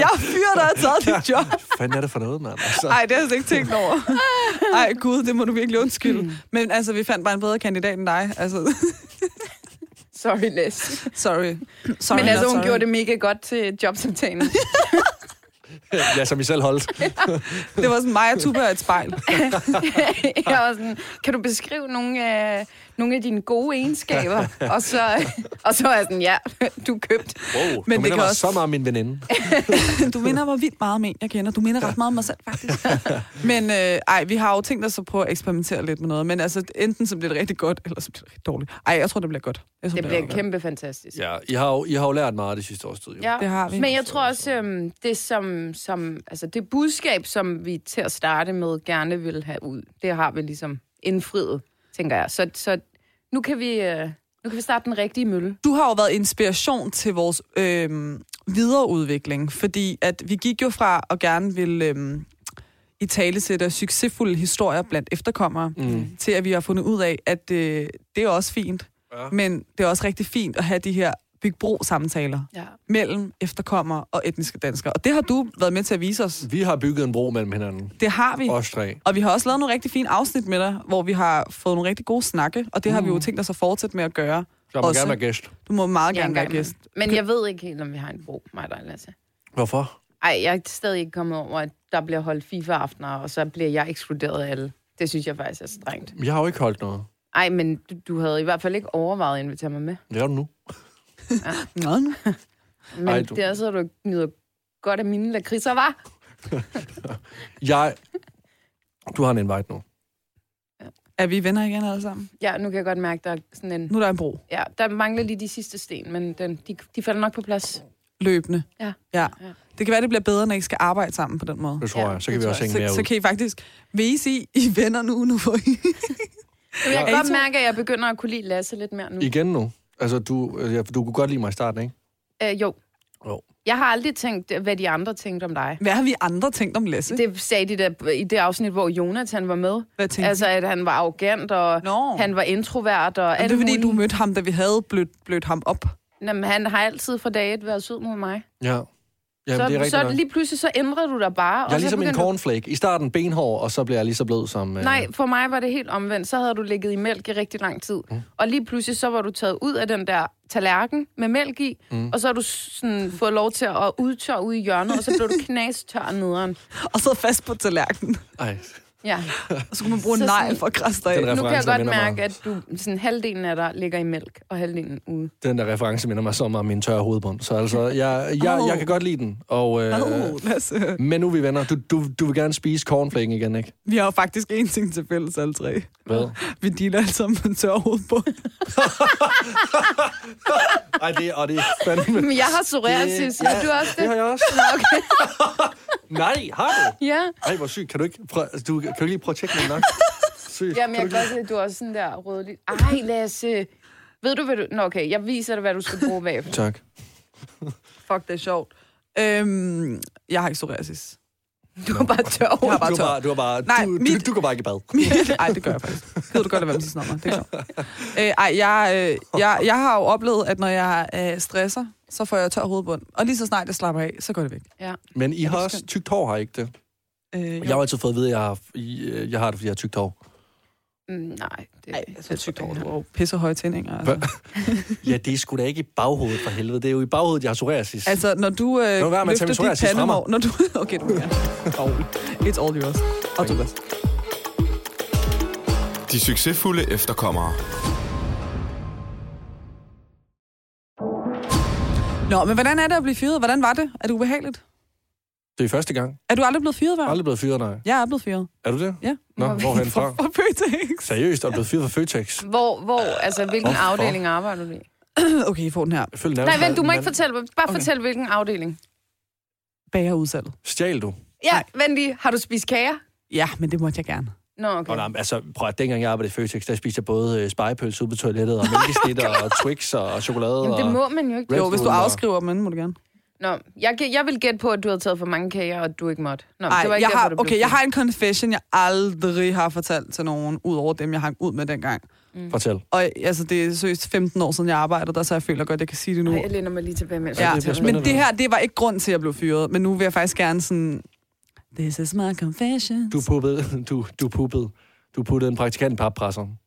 B: jeg er fyret, der har taget dit job.
D: Hvad fanden er det for noget, mand? Altså,
B: Nej, det har jeg slet ikke tænkt over. Ej, gud, det må du virkelig undskylde. Men altså, vi fandt bare en bedre kandidat end dig. Altså,
C: Sorry, Lasse.
B: sorry. sorry
C: Men
B: not
C: altså, hun
B: sorry.
C: gjorde det mega godt til jobsamtalen.
D: ja, som I selv holdt.
B: Det var sådan mig og Tuba og et spejl.
C: Altså, jeg var sådan, kan du beskrive nogle af, nogle af dine gode egenskaber? og, så, og så er jeg sådan, ja, du er købt.
D: Wow,
B: Men
D: Men du
B: det
D: minder
B: kan
D: mig
B: også-
D: også... så meget om min veninde.
B: Du minder mig vildt meget om en, jeg kender. Du minder ret meget om mig selv, faktisk. Men øh, ej, vi har jo tænkt os at prøve at eksperimentere lidt med noget. Men altså, enten så bliver det rigtig godt, eller så bliver det rigtig dårligt. Ej, jeg tror, det bliver godt. Jeg tror,
C: Det bliver
B: godt.
C: kæmpe fantastisk.
D: Ja, I har jo, I har jo lært meget det sidste års tid, jo.
C: Ja.
B: Det har vi.
C: Men jeg tror også, øhm, det, som, som, altså det budskab, som vi til at starte med gerne vil have ud, det har vi ligesom indfriet, tænker jeg. Så, så nu kan vi øh, Nu kan vi starte den rigtige mølle.
B: du har jo været inspiration til vores øhm, videreudvikling, fordi at vi gik jo fra at gerne ville øhm, i tale sætte succesfulde historier blandt efterkommere,
D: Mm.
B: til at vi har fundet ud af, at øh, det er også fint,
D: Ja.
B: men det er også rigtig fint at have de her bygbro-samtaler
C: Ja.
B: mellem efterkommere og etniske danskere. Og det har du været med til at vise os.
D: Vi har bygget en bro mellem hinanden.
B: Det har vi.
D: Os tre.
B: Og vi har også lavet nogle rigtig fine afsnit med dig, hvor vi har fået nogle rigtig gode snakke, og det har vi jo tænkt os at fortsætte med at gøre.
D: Jeg Mm. må
B: Også.
D: gerne være gæst.
B: Du må meget
C: Ja,
B: gerne
C: en
B: være
C: gang
B: gæst.
C: imellem. Men jeg ved ikke helt, om vi har en bro, mig og dig, Lasse.
D: Hvorfor?
C: Ej, jeg er stadig ikke kommet over, at der bliver holdt FIFA-aftener, og så bliver jeg ekskluderet af alle. Det synes jeg faktisk er strengt.
D: Jeg har jo ikke holdt noget.
C: Ej, men du, du havde i hvert fald ikke overvejet at invitere mig med.
D: Det er du nu.
B: Nå, nu.
C: Men
D: Ej,
C: Ej,
D: du-
C: du... det er så, du nyder godt af mine lakridser, var.
D: Jeg... Du har en invite nu.
B: Er vi venner igen alle sammen?
C: Ja, nu kan jeg godt mærke, der er sådan en...
B: Nu er der en bro
C: Ja, der mangler lige de sidste sten, men den, de, de falder nok på plads.
B: løbende.
C: Ja.
B: ja.
C: Ja.
B: Det kan være, det bliver bedre, når I skal arbejde sammen på den måde.
D: Det tror
C: Ja,
D: jeg. Så
C: det
D: kan vi
C: tror
D: også
C: jeg.
D: hænge mere
B: Så,
D: ud.
B: så kan I faktisk... Vil I sige, I er venner nu, nu hvor I...
C: Jamen, jeg kan
B: Ja.
C: godt mærke, at jeg begynder at kunne lide Lasse lidt mere nu.
D: Igen nu. Altså, du, øh, ja, du kunne godt lide mig i starten, ikke?
C: Øh, jo.
D: Jo.
C: Jeg har aldrig tænkt, hvad de andre tænkte om dig.
B: Hvad har vi andre tænkt om Lasse? Det,
C: Det sagde de der, i det afsnit, hvor Jonathan var med.
B: Hvad tænkte
C: Altså, at han var arrogant, og
B: Nå.
C: han var introvert, og
B: er
C: alt
B: det fordi,
C: muligt.
B: du mødte ham, da vi havde blødt, blødt ham op?
C: Jamen, han har altid fra dag et været sød mod mig.
D: Ja. Jamen, det er
C: så,
D: rigtigt
C: så
D: nok.
C: lige pludselig, så ændrede du dig bare.
D: Jeg er ligesom en
C: begyndte du-
D: cornflake. I starten benhård, og så bliver jeg lige så blød som... Øh,
C: Nej, for mig var det helt omvendt. Så havde du ligget i mælk i rigtig lang tid. Mm. Og lige pludselig, så var du taget ud af den der tallerken med mælk i, mm. og så har du sådan fået lov til at udtørre ude i hjørnet, og så blev du knastør nederen.
B: Og sad fast på tallerkenen.
D: Ej,
C: Ja.
B: Og så kunne man bruge en
C: Så sådan-
B: negl for at krasse dig
D: Den
B: af.
D: er-
C: Nu kan jeg
D: Referencen
C: godt
D: minder mig
C: mærke, at du, sådan, halvdelen af dig ligger i mælk, og halvdelen ude.
D: den der reference minder mig så meget om min tørre hovedbund. Så altså, jeg, jeg, jeg kan godt lide den. Og, øh,
B: Åh, Lasse.
D: Men nu er vi venner. Du, du, du vil gerne spise cornflaken igen, ikke?
B: Vi har jo faktisk én ting til fælles, alle tre.
D: Hvad?
B: Vi dealer alle sammen med en tør hovedbund.
D: Ej, det, og det er fandme...
C: Men jeg har psoriasis,
D: Det-
C: har du også
D: Det har
C: det?
D: jeg også.
C: Okay.
D: Nej, har du?
C: Ja.
D: Ej, hvor sygt. Kan du ikke, prøve, altså, du, kan du ikke lige prøve at tjekke min nok? Sygt.
C: Jamen, jeg kan
D: Kan du ikke-
C: godt se, at du er også sådan der rødlig. Ej, Lasse. Ved du, hvad du... Nå, okay, jeg viser dig, hvad du skal bruge bagefter.
D: Tak.
B: Fuck, det er sjovt. Øhm, jeg har ikke psoriasis.
C: Du er bare tør
B: Jeg har
D: Du
B: bare
D: er
B: tør.
D: bare, du, er bare,
B: Nej,
D: du,
B: mit-
D: du, du går bare ikke i bad.
B: Nej, det gør jeg faktisk. Ved du godt, at være med sådan noget. Det er sjovt. Øh, ej, jeg, øh, jeg, jeg har jo oplevet, at når jeg øh, stresser, så får jeg tør hovedbund. Og lige så snart jeg slapper af, så går det væk.
C: Ja.
D: Men I har
B: det er
D: også
B: skønt.
D: tykt hår, har I ikke det?
B: Øh,
D: Jeg har jo altid fået at vide, at jeg har, I, øh, jeg har det, fordi jeg har tykt hår.
C: Mm, nej, det,
B: Ej, jeg så
C: det
B: tygt
C: tror
B: over,
C: jeg
B: du
C: ikke.
B: var jo pissehøje tændinger. Altså.
D: Ja, det er sgu da ikke i baghovedet for helvede. Det er jo i baghovedet, jeg har psoriasis. Altså,
B: altså, når du øh,
D: Lad nu være med at tage min
B: løfter
D: psoriasis
B: dit
D: fra mig.
B: pandemår... Når du, okay, du må gerne. It's all yours. Og du.
A: De succesfulde efterkommere.
B: Nå, men hvordan er det at blive fyret? Hvordan var det? Er det ubehageligt?
D: det er første gang.
B: Er du aldrig blevet fyret, hva'?
D: Aldrig blevet fyret, nej.
B: Jeg er blevet fyret.
D: Er du det?
B: Ja.
D: Nå, hvorhen fra?
B: For, for Pøtex.
D: Seriøst, er du blevet fyret fra Føtex?
C: Hvor, hvor, altså, hvilken
D: Hvorfor?
C: afdeling arbejder du i?
B: Okay, I får den her.
D: Jeg føler,
C: Nej,
D: nærmest,
C: vent, du må
D: man-
C: ikke fortælle, bare
B: Okay.
C: fortæl, hvilken afdeling.
B: Bager udsalget.
D: Stjal du?
C: Ja, vent lige, har du spist kager?
B: Ja, men det måtte jeg gerne.
C: Nå, okay.
D: Nå, nej, men altså, prøv at dengang jeg arbejdede i Føtex, der spiste jeg både øh, spejepølse ude på toilettet, og mælkesnitter, og Twix, og chokolade,
C: Jamen, det må man jo ikke.
D: Red
B: Jo, hvis du
D: Bull og-
B: afskriver dem, må du gerne.
C: Nå, jeg, gæ- jeg vil gætte på, at du havde taget for mange kager, og at du ikke måtte. Nå, men
B: Ej,
C: det var ikke
B: jeg
C: derfor,
B: har,
C: du blev
B: okay, jeg
C: fyret.
B: har en confession, jeg aldrig har fortalt til nogen, udover dem, jeg hang ud med dengang.
D: og... Fortæl.
B: Og altså, det er seriøst 15 år siden, jeg arbejdede der, så jeg føler godt, jeg kan sige det nu.
C: Ej, jeg læner mig lige tilbage, mens
B: ja,
C: jeg
D: bliver
C: fortæller.
B: men
D: spændende.
B: det her, det var ikke grund til, at jeg blev fyret. Men nu vil jeg faktisk gerne sådan... This is my confession.
D: Du puppede, du, du puppede, du puttede en praktikant i pappresseren.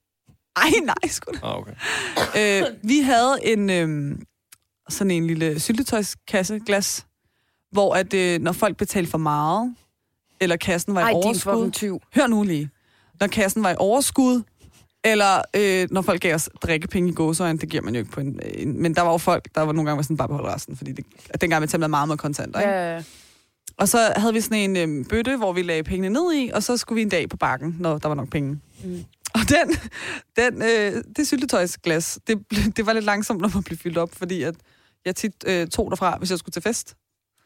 B: Ej, nej, sgu da.
D: Ah, okay.
B: øh, vi havde en øh, sådan en lille syltetøjskasse, glas, hvor at, øh, når folk betalte for meget, eller kassen var i
C: Ej, din
B: overskud...
C: fucking tyv.
B: hør nu lige, når kassen var i overskud, eller øh, når folk gav os drikkepenge i gåsøjne, det giver man jo ikke på en, en... Men der var jo folk, der var nogle gange var sådan, bare behold resten, fordi det, at dengang man talte meget med kontanter. Ikke?
C: Ja,
B: Og så havde vi sådan en øh, bøtte, hvor vi lagde pengene ned i, og så skulle vi en dag på bakken, når der var nok penge.
C: Mm.
B: Og den, den, øh, det syltetøjsglas, det, blev- det var lidt langsomt, når man blev fyldt op, fordi at jeg tit øh, tog derfra, hvis jeg skulle til fest.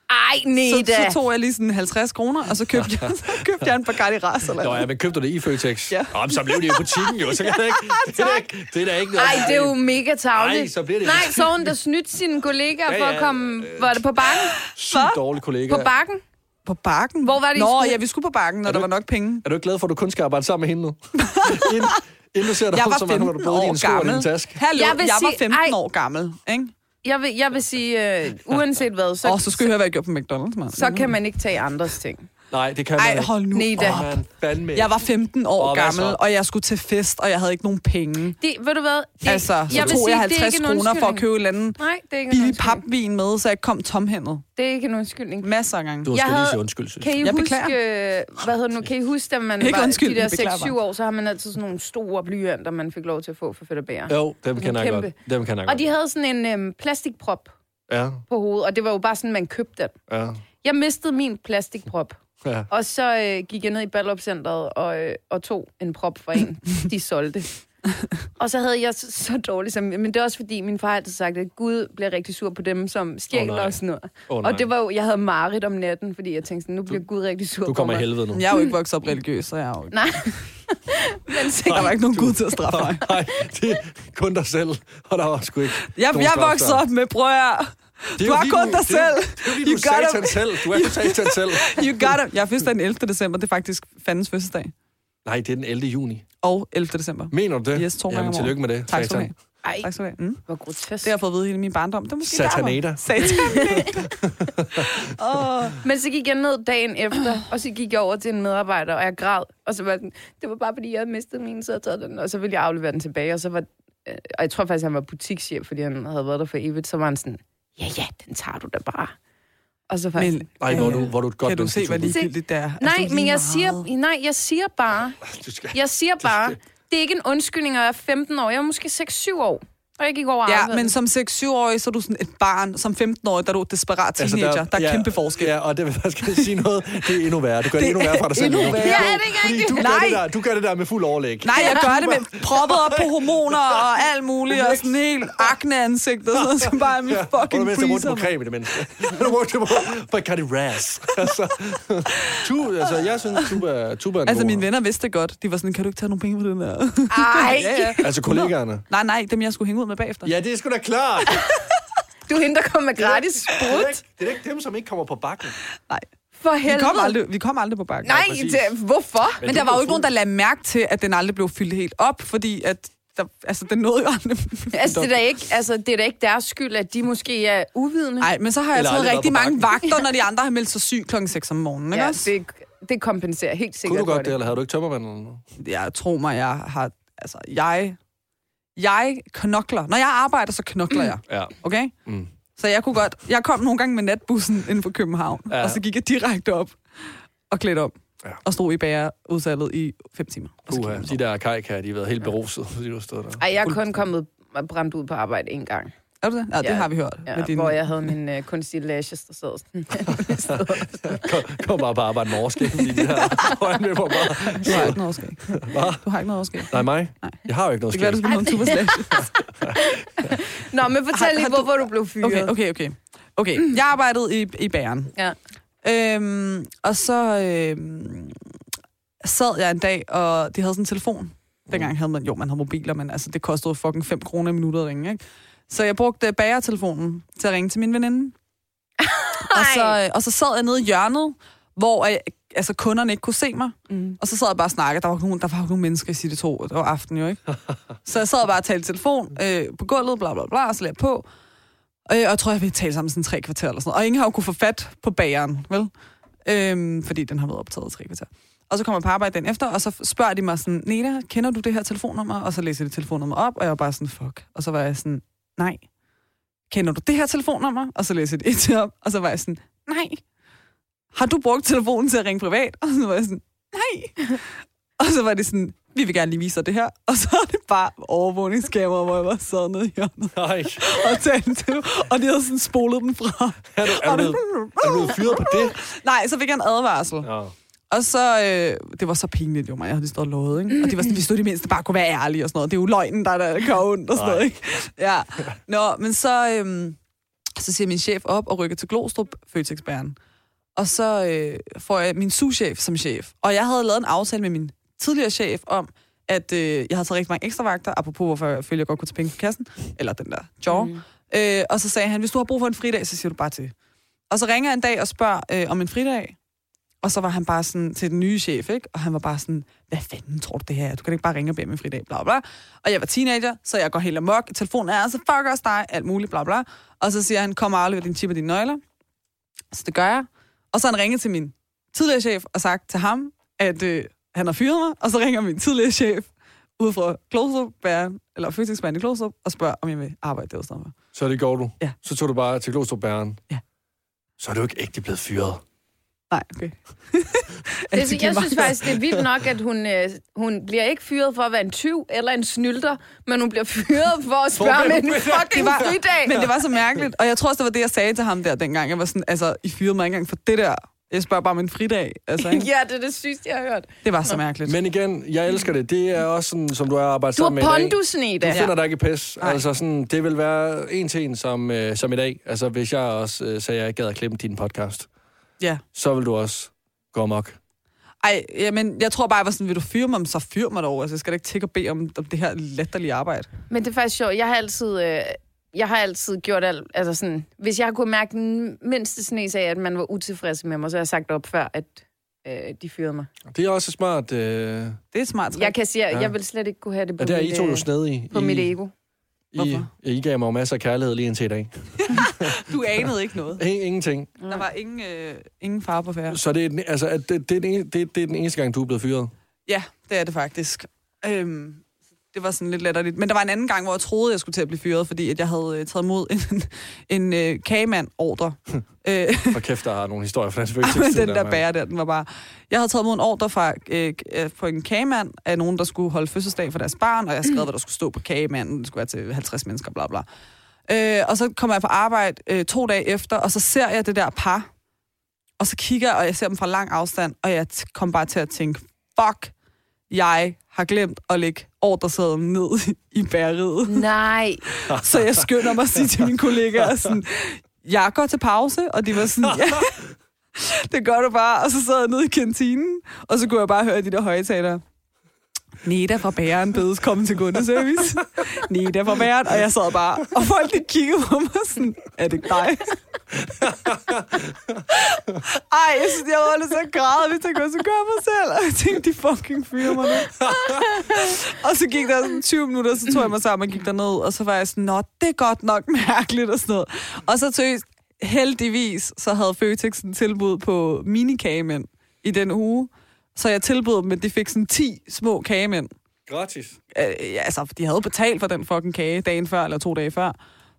C: Ej, nej
B: Så,
C: da.
B: så tog jeg lige sådan 50 kroner, og så købte jeg, så købte jeg en Bacardi Ras. Eller
D: Nå ja, men købte du det i Føtex?
B: Ja.
D: Nå, men så blev det i butikken jo, så kan det ikke... Det er, da ikke- det er da ikke noget...
C: Ej, det er jo mega tavligt.
D: Ej, så bliver det-
C: Nej, så har hun da snydt sine kollegaer
D: Ja,
C: for
D: ja, øh,
C: at komme... Var det på bakken?
D: Sygt dårlig kollega.
C: På bakken?
B: På bakken?
C: Hvor var det, I
B: Nå,
C: skulle?
B: ja, vi skulle på bakken, når
D: du
B: der var nok penge.
D: Er du ikke glad for, at du kun skal arbejde sammen med hende nu? inden, inden du ser dig
B: Jeg
D: ud,
B: var
D: som om,
B: 15
D: når du både i
B: år
D: en sko og i din
B: gammel.
D: taske.
B: Hallo,
C: Jeg
B: jeg,
C: vil
B: jeg var
C: sige-
B: 15
C: ej.
B: år gammel, ikke?
C: Jeg vil, jeg vil sige, øh, uanset hvad, så,
B: Åh, oh, så skulle jeg høre, hvad jeg gjorde på McDonald's, mand.
C: så kan man ikke tage andres ting.
D: Nej, det kan man
B: Ej,
D: ikke.
B: hold nu
C: Neda.
B: op.
D: Man, fandme.
B: Jeg var 15 år
D: Åh,
B: oh,
D: hvad
B: gammel,
D: så?
B: og jeg skulle til fest, og jeg havde ikke nogen penge.
C: Det, ved du hvad? Det,
B: Altså, så
C: vil
B: tog
C: sige,
B: jeg
C: det er
B: 50
C: ikke en
B: kroner for at
C: undskyldning.
B: købe en eller anden
C: Nej, det er ikke en
B: billig
C: undskyldning.
B: papvin med, så jeg kom tomhændet.
C: Det er ikke en undskyldning.
B: Masser af gange.
D: Du
C: Jeg
D: skal lige
C: havde-
D: sige undskyld, synes
C: Kan I
B: Jeg
C: huske,
B: beklager.
C: øh, hvad hedder det nu, kan I huske, da man
B: Ikke
C: var
B: undskyld,
C: de der
B: jeg beklager
C: 6-7 år, så har man altid sådan nogle store blyanter, man fik lov til at få for fedt og bære.
D: jeg. Jo, dem kender jeg godt.
C: Kæmpe.
D: Dem kender jeg
C: Og
D: godt.
C: de havde sådan en øhm, plastikprop
D: Ja,
C: på hovedet, og det var jo bare sådan, man købte den.
D: ja,
C: Jeg mistede min plastikprop,
D: ja.
C: og så øh, gik jeg ned i Ballup Centeret og, øh, og tog en prop fra en, de solgte. og så havde jeg så, så dårligt som... Men det er også fordi, min far har altid sagt, at Gud bliver rigtig sur på dem, som stjæler
D: nej.
C: og sådan noget.
D: Åh, nej.
C: og det var jo... Jeg havde mareridt om natten, fordi jeg tænkte sådan, nu bliver Gud rigtig sur
D: Du
C: på
D: kommer i
C: mig.
D: helvede nu.
B: Jeg er jo ikke vokset op religiøs, så jeg er jo ikke...
C: Nej. Men se,
B: Der var ikke nogen gud til at straffe mig.
D: Nej, det er kun dig selv, og der var sgu ikke
B: Jeg,
D: nogen
B: jeg
D: straf
B: voksede
D: der.
B: op med, prøv at høre.
D: Det er
B: Du
D: jo
B: er
D: fordi,
B: kun dig
D: det er-
B: selv.
D: Det er jo fordi, du
B: You
D: er
B: gotta-
D: satan selv. Du er jo satan selv.
B: You got it. Jeg er fødselsdag den 11. december, det er faktisk fandens fødselsdag.
D: Nej, det er den 11. juni.
B: Og 11. december.
D: Mener du det?
B: Yes, to gange
D: Jamen,
B: om året.
D: tillykke med det.
B: Tak skal du have.
C: ej,
B: Tak skal du have. Mm.
C: hvor grotesk.
B: Det har jeg fået at vide hele min barndom. Det er måske
D: Satanator.
B: derfor. Satanator. Åh,
C: Men så gik jeg ned dagen efter, og så gik jeg over til en medarbejder, og jeg græd. Og så var den, det var bare, fordi jeg havde mistet min, så jeg taget den, og så ville jeg aflevere den tilbage. Og så var, øh, og jeg tror faktisk, han var butikschef, fordi han havde været der for evigt. Så var han sådan, ja, ja, den tager du da bare. Og så faktisk,
B: Men
C: men,
D: Nej, hvor er du, hvor er du et godt
B: Øh, kan du
D: menneske,
B: se, hvad
D: Tue.
B: ligegyldigt det er? Altså,
C: nej,
B: lige
C: men jeg
B: meget.
C: siger, nej, jeg siger bare,
D: Du skal...
C: jeg siger bare, det er ikke en undskyldning, og jeg er 15 år. Jeg er måske 6-7 år, og jeg gik over og
B: Ja,
C: afleverede
B: men
C: den.
B: som 6-7-årig, så er du sådan et barn. Som 15-årig, der er du et desperat teenager. Altså, der, der er ja, kæmpe forskel.
D: Ja, og det vil jeg skal sige noget. Det er endnu værre. Du gør det, endnu værre for dig selv.
B: endnu
D: nu.
B: værre.
C: Ja, er det ikke
D: Fordi
C: rigtigt?
D: du gør,
B: Nej.
D: det der, du gør det der med fuld overlæg.
B: Nej, jeg gør det med proppet op på hormoner og alt muligt, og sådan helt akne ansigtet, sådan, så bare min
D: og du
B: fucking
D: mindste rundt på
B: freezer.
D: creme i det mindste. Du brugte det på Bacardi Ras. Altså, tu, altså, jeg synes, Tuba, tuba er den
B: Altså,
D: gode.
B: mine venner vidste det godt. De var sådan, kan du ikke tage nogle penge på den der?
C: Ej,
B: ja, ja.
D: Altså kollegaerne.
B: Nej, nej, dem jeg skulle hænge ud med bagefter.
D: Ja, det er sgu da klart.
C: du er hende, der kommer gratis
D: Det er, da
C: sprut.
D: ikke, det er da ikke dem, som ikke kommer på bakken.
B: Nej.
C: For
B: Vi
C: helvede.
B: kom, aldrig, vi kom aldrig på bakken.
C: Nej,
D: præcis.
C: det, hvorfor?
B: Men der var jo ikke nogen, der lagde mærke til, at den aldrig blev fyldt helt op, fordi at der, altså, den nåede jo aldrig.
C: Altså, det er, da ikke, altså, det er da ikke deres skyld, at de måske er uvidende.
B: Nej, men så har jeg
D: Eller
B: taget
D: aldrig været
B: rigtig
D: på
B: mange vagter, når de andre har meldt sig syg klokken 6 om morgenen. Ikke
C: ja,
B: også?
C: det, det kompenserer helt sikkert
D: Kunne du
C: for
D: godt det, eller havde du ikke tømmermand eller noget?
B: jeg tror mig, jeg har... Altså, jeg... Jeg knokler. Når jeg arbejder, så knokler jeg.
D: Ja.
B: Okay?
D: Mm.
B: Så jeg kunne godt... Jeg kom nogle gange med natbussen inden for København,
D: Ja.
B: ja. og så gik jeg direkte op og klædte om.
D: Ja.
B: Ja. Og stod i bagerudsalget i fem timer. Og så gik
D: Puha,
B: jeg
D: de
B: så.
D: der arkaiker, de har været helt beruset, fordi du har stået der.
C: Ej, jeg er kun kommet og brændt ud på arbejde en gang,
B: Er du det? Ja, det
C: Ja.
B: har vi hørt.
C: ja,
B: med din...
C: hvor jeg havde min øh, kunstige lashes, der sad sådan.
D: Kom, kom bare på arbejde med overskæg, fordi de her øjne på bare.
B: Du har ikke noget overskæg. Du har ikke noget overskæg.
D: Nej, mig? Jeg har jo ikke noget
B: Det
D: skæg.
B: kan være, du skulle have en tuberslag.
C: Nå, men fortæl
B: Har-
C: lige,
B: har du-
C: hvorfor du blev fyret.
B: Okay, okay, okay. Okay, jeg arbejdede i, i bæren.
C: Ja.
B: Øhm, og så øhm, sad jeg en dag, og de havde sådan en telefon. Dengang havde man, jo, man havde mobiler, men altså, det kostede fucking 5 kroner i minuttet at ringe, ikke? Så jeg brugte øh, bagertelefonen til at ringe til min veninde. og, så, øh, og så sad jeg nede i hjørnet, hvor øh, altså, kunderne ikke kunne se mig.
C: Mm.
B: Og så sad jeg bare og snakkede. Der var, ikke nogen, der var jo ikke nogen mennesker i City 2. Det var aften jo, ikke? så jeg sad bare og talte i telefon øh, på gulvet, bla bla bla, og så lagde jeg på. Øh, og jeg tror, jeg vil tale sammen sådan tre kvarter eller sådan noget. Og ingen har jo kunne få fat på bageren, vel? Øhm, fordi den har været optaget i tre kvarter. Og så kommer jeg på arbejde den efter, og så spørger de mig sådan, Neda, kender du det her telefonnummer? Og så læser de telefonnummer op, og jeg var bare sådan, fuck. Og så var jeg sådan, nej. Kender du det her telefonnummer? Og så læser de et til op, og så var jeg sådan, nej. Har du brugt telefonen til at ringe privat? Og så var jeg sådan, nej. Og så var det sådan, vi vil gerne lige vise dig det her. Og så er det bare overvågningskamera, hvor jeg var sad nede i hjørnet
D: Nej,
B: og talte til. Og de havde sådan spolet den fra.
D: er du, er du,
B: Og det-
D: blevet, er du blevet fyret på det?
B: Nej, så fik jeg en advarsel.
D: Ja.
B: Og så, øh, det var så pinligt jo mig, jeg havde lige stået og lovet, ikke? Og det var sådan, hvis du i det mindste bare kunne være ærlig og sådan noget. Det er jo løgnen, der, der gør ondt og sådan noget, ikke? Ja. Nå, men så, øh, Så siger min chef op og rykker til Glostrup, føtex Og så øh, får jeg min souschef som chef. Og jeg havde lavet en aftale med min tidligere chef om, at øh, jeg havde taget rigtig mange ekstra vagter, apropos hvorfor jeg følte, jeg godt kunne tage penge på kassen, eller den der jaw. Mm. Øh, og så sagde han, hvis du har brug for en fridag, så siger du bare til. Og så ringer jeg en dag og spørger øh, om en fridag, og så var han bare sådan til den nye chef, ikke? Og han var bare sådan, hvad fanden tror du det her er? Du kan da ikke bare ringe og bede om en fridag, bla bla. Og jeg var teenager, så jeg går helt amok. Telefonen er altså, fuck også dig, alt muligt, bla bla. Og så siger han, kom og aflever din chip og dine nøgler. Så det gør jeg. Og så har han ringet til min tidligere chef og sagt til ham, at øh, han har fyret mig. Og så ringer min tidligere chef ud fra Klostrup, eller fysiksbæren i Klostrup, og spørger, om jeg vil arbejde der hos
D: Så det gjorde du.
B: Ja.
D: Så tog du bare til glostrup Bæren.
B: Ja.
D: Så er du ikke ægte blevet fyret.
B: Nej, okay. Altså,
C: Altså, Det, jeg, jeg synes faktisk, det er vildt nok, at hun, øh, hun bliver ikke fyret for at være en tyv eller en snylter, men hun bliver fyret for at spørge om en fucking
B: var-
C: fridag.
B: Men det var så mærkeligt, og jeg tror også, det var det, jeg sagde til ham der dengang. Jeg var sådan, altså, I fyrede mig ikke engang for det der. Jeg spørger bare om en fridag. Altså, ikke?
C: ja, det er det sygeste, jeg har hørt.
B: Det var så mærkeligt. Men,
D: Men igen, jeg elsker det. Det er også sådan, som du har arbejdet
C: Du har
D: sammen med i dag.
C: pondusen i
D: Du
C: det.
D: finder dig ikke i pis. Altså sådan, det vil være en til en som, øh, som i dag. Altså hvis jeg også øh, sagde, at jeg ikke gad at klemme din podcast,
B: ja.
D: så vil du også gå amok.
B: Ej, jamen, jeg tror bare, jeg var sådan, vil du fyre mig, så fyr mig dog. Altså, jeg skal da ikke tække og bede om, om det her latterlige arbejde.
C: Men det er faktisk sjovt. Jeg har altid... Øh, jeg har altid gjort alt, altså sådan, hvis jeg har kunnet mærke den mindste snes af, at man var utilfreds med mig, så har jeg sagt op før, at øh, de fyrede mig.
D: Det er også smart. Øh... Ja,
B: Det er et smart trick.
C: Jeg kan sige, at
D: Ja.
C: jeg vil slet ikke kunne have det på,
D: det er I
C: mit,
D: to jo
C: øh,
D: snedige.
C: på
D: I,
C: mit ego.
D: I,
B: Hvorfor?
D: I gav mig jo masser af kærlighed lige indtil i dag.
B: Du anede ikke noget.
D: In, ingenting.
B: Der var ingen, øh, ingen far på færre.
D: Så det er, den, altså, at det, det, er den, en- det, det er den eneste gang, du er blevet fyret.
B: Ja, det er det faktisk. Øhm, det var sådan lidt latterligt. Men der var en anden gang, hvor jeg troede, jeg skulle til at blive fyret, fordi at jeg havde øh, taget imod en, en øh, kagemand-ordre. øh,
D: For kæft, der er nogle historier fra den
B: Ah, Men
D: selvfølgelig.
B: den der bærer der, den var bare... Jeg havde taget imod en ordre fra, øh, øh, fra en kagemand af nogen, der skulle holde fødselsdag for deres barn, og jeg skrev, hvad der skulle stå på kagemanden. Det skulle være til 50 mennesker, bla bla. Øh, og så kommer jeg på arbejde øh, to dage efter, og så ser jeg det der par, og så kigger jeg, og jeg ser dem fra lang afstand, og jeg t- kom bare til at tænke, fuck, jeg har glemt at lægge ordresedlen ned i bæreriet.
C: Nej,
B: Så jeg skynder mig at sige til mine kollegaer, sådan, jeg går til pause, og de var sådan, ja, det gør du bare. Og så sad jeg nede i kantinen, og så kunne jeg bare høre de der højtalere. Neda fra bæren bedes komme til kundeservice. Neda fra bæren, og jeg sad bare, og folk de kiggede på mig sådan, er det dig? Ej, jeg synes, jeg var lidt så græd, hvis jeg kunne så gøre mig selv. Og jeg tænkte, de fucking fyrer mig nu. Og så gik der sådan 20 minutter, så tog jeg mig sammen og gik derned, og så var jeg sådan, nå, det er godt nok mærkeligt og sådan noget. Og så tøs, heldigvis, så havde Føtex en tilbud på minikagemænd i den uge. Så jeg tilbød dem, at de fik sådan 10 små kagemænd.
D: Gratis.
B: Øh, ja, altså, de havde betalt for den fucking kage dagen før, eller to dage før.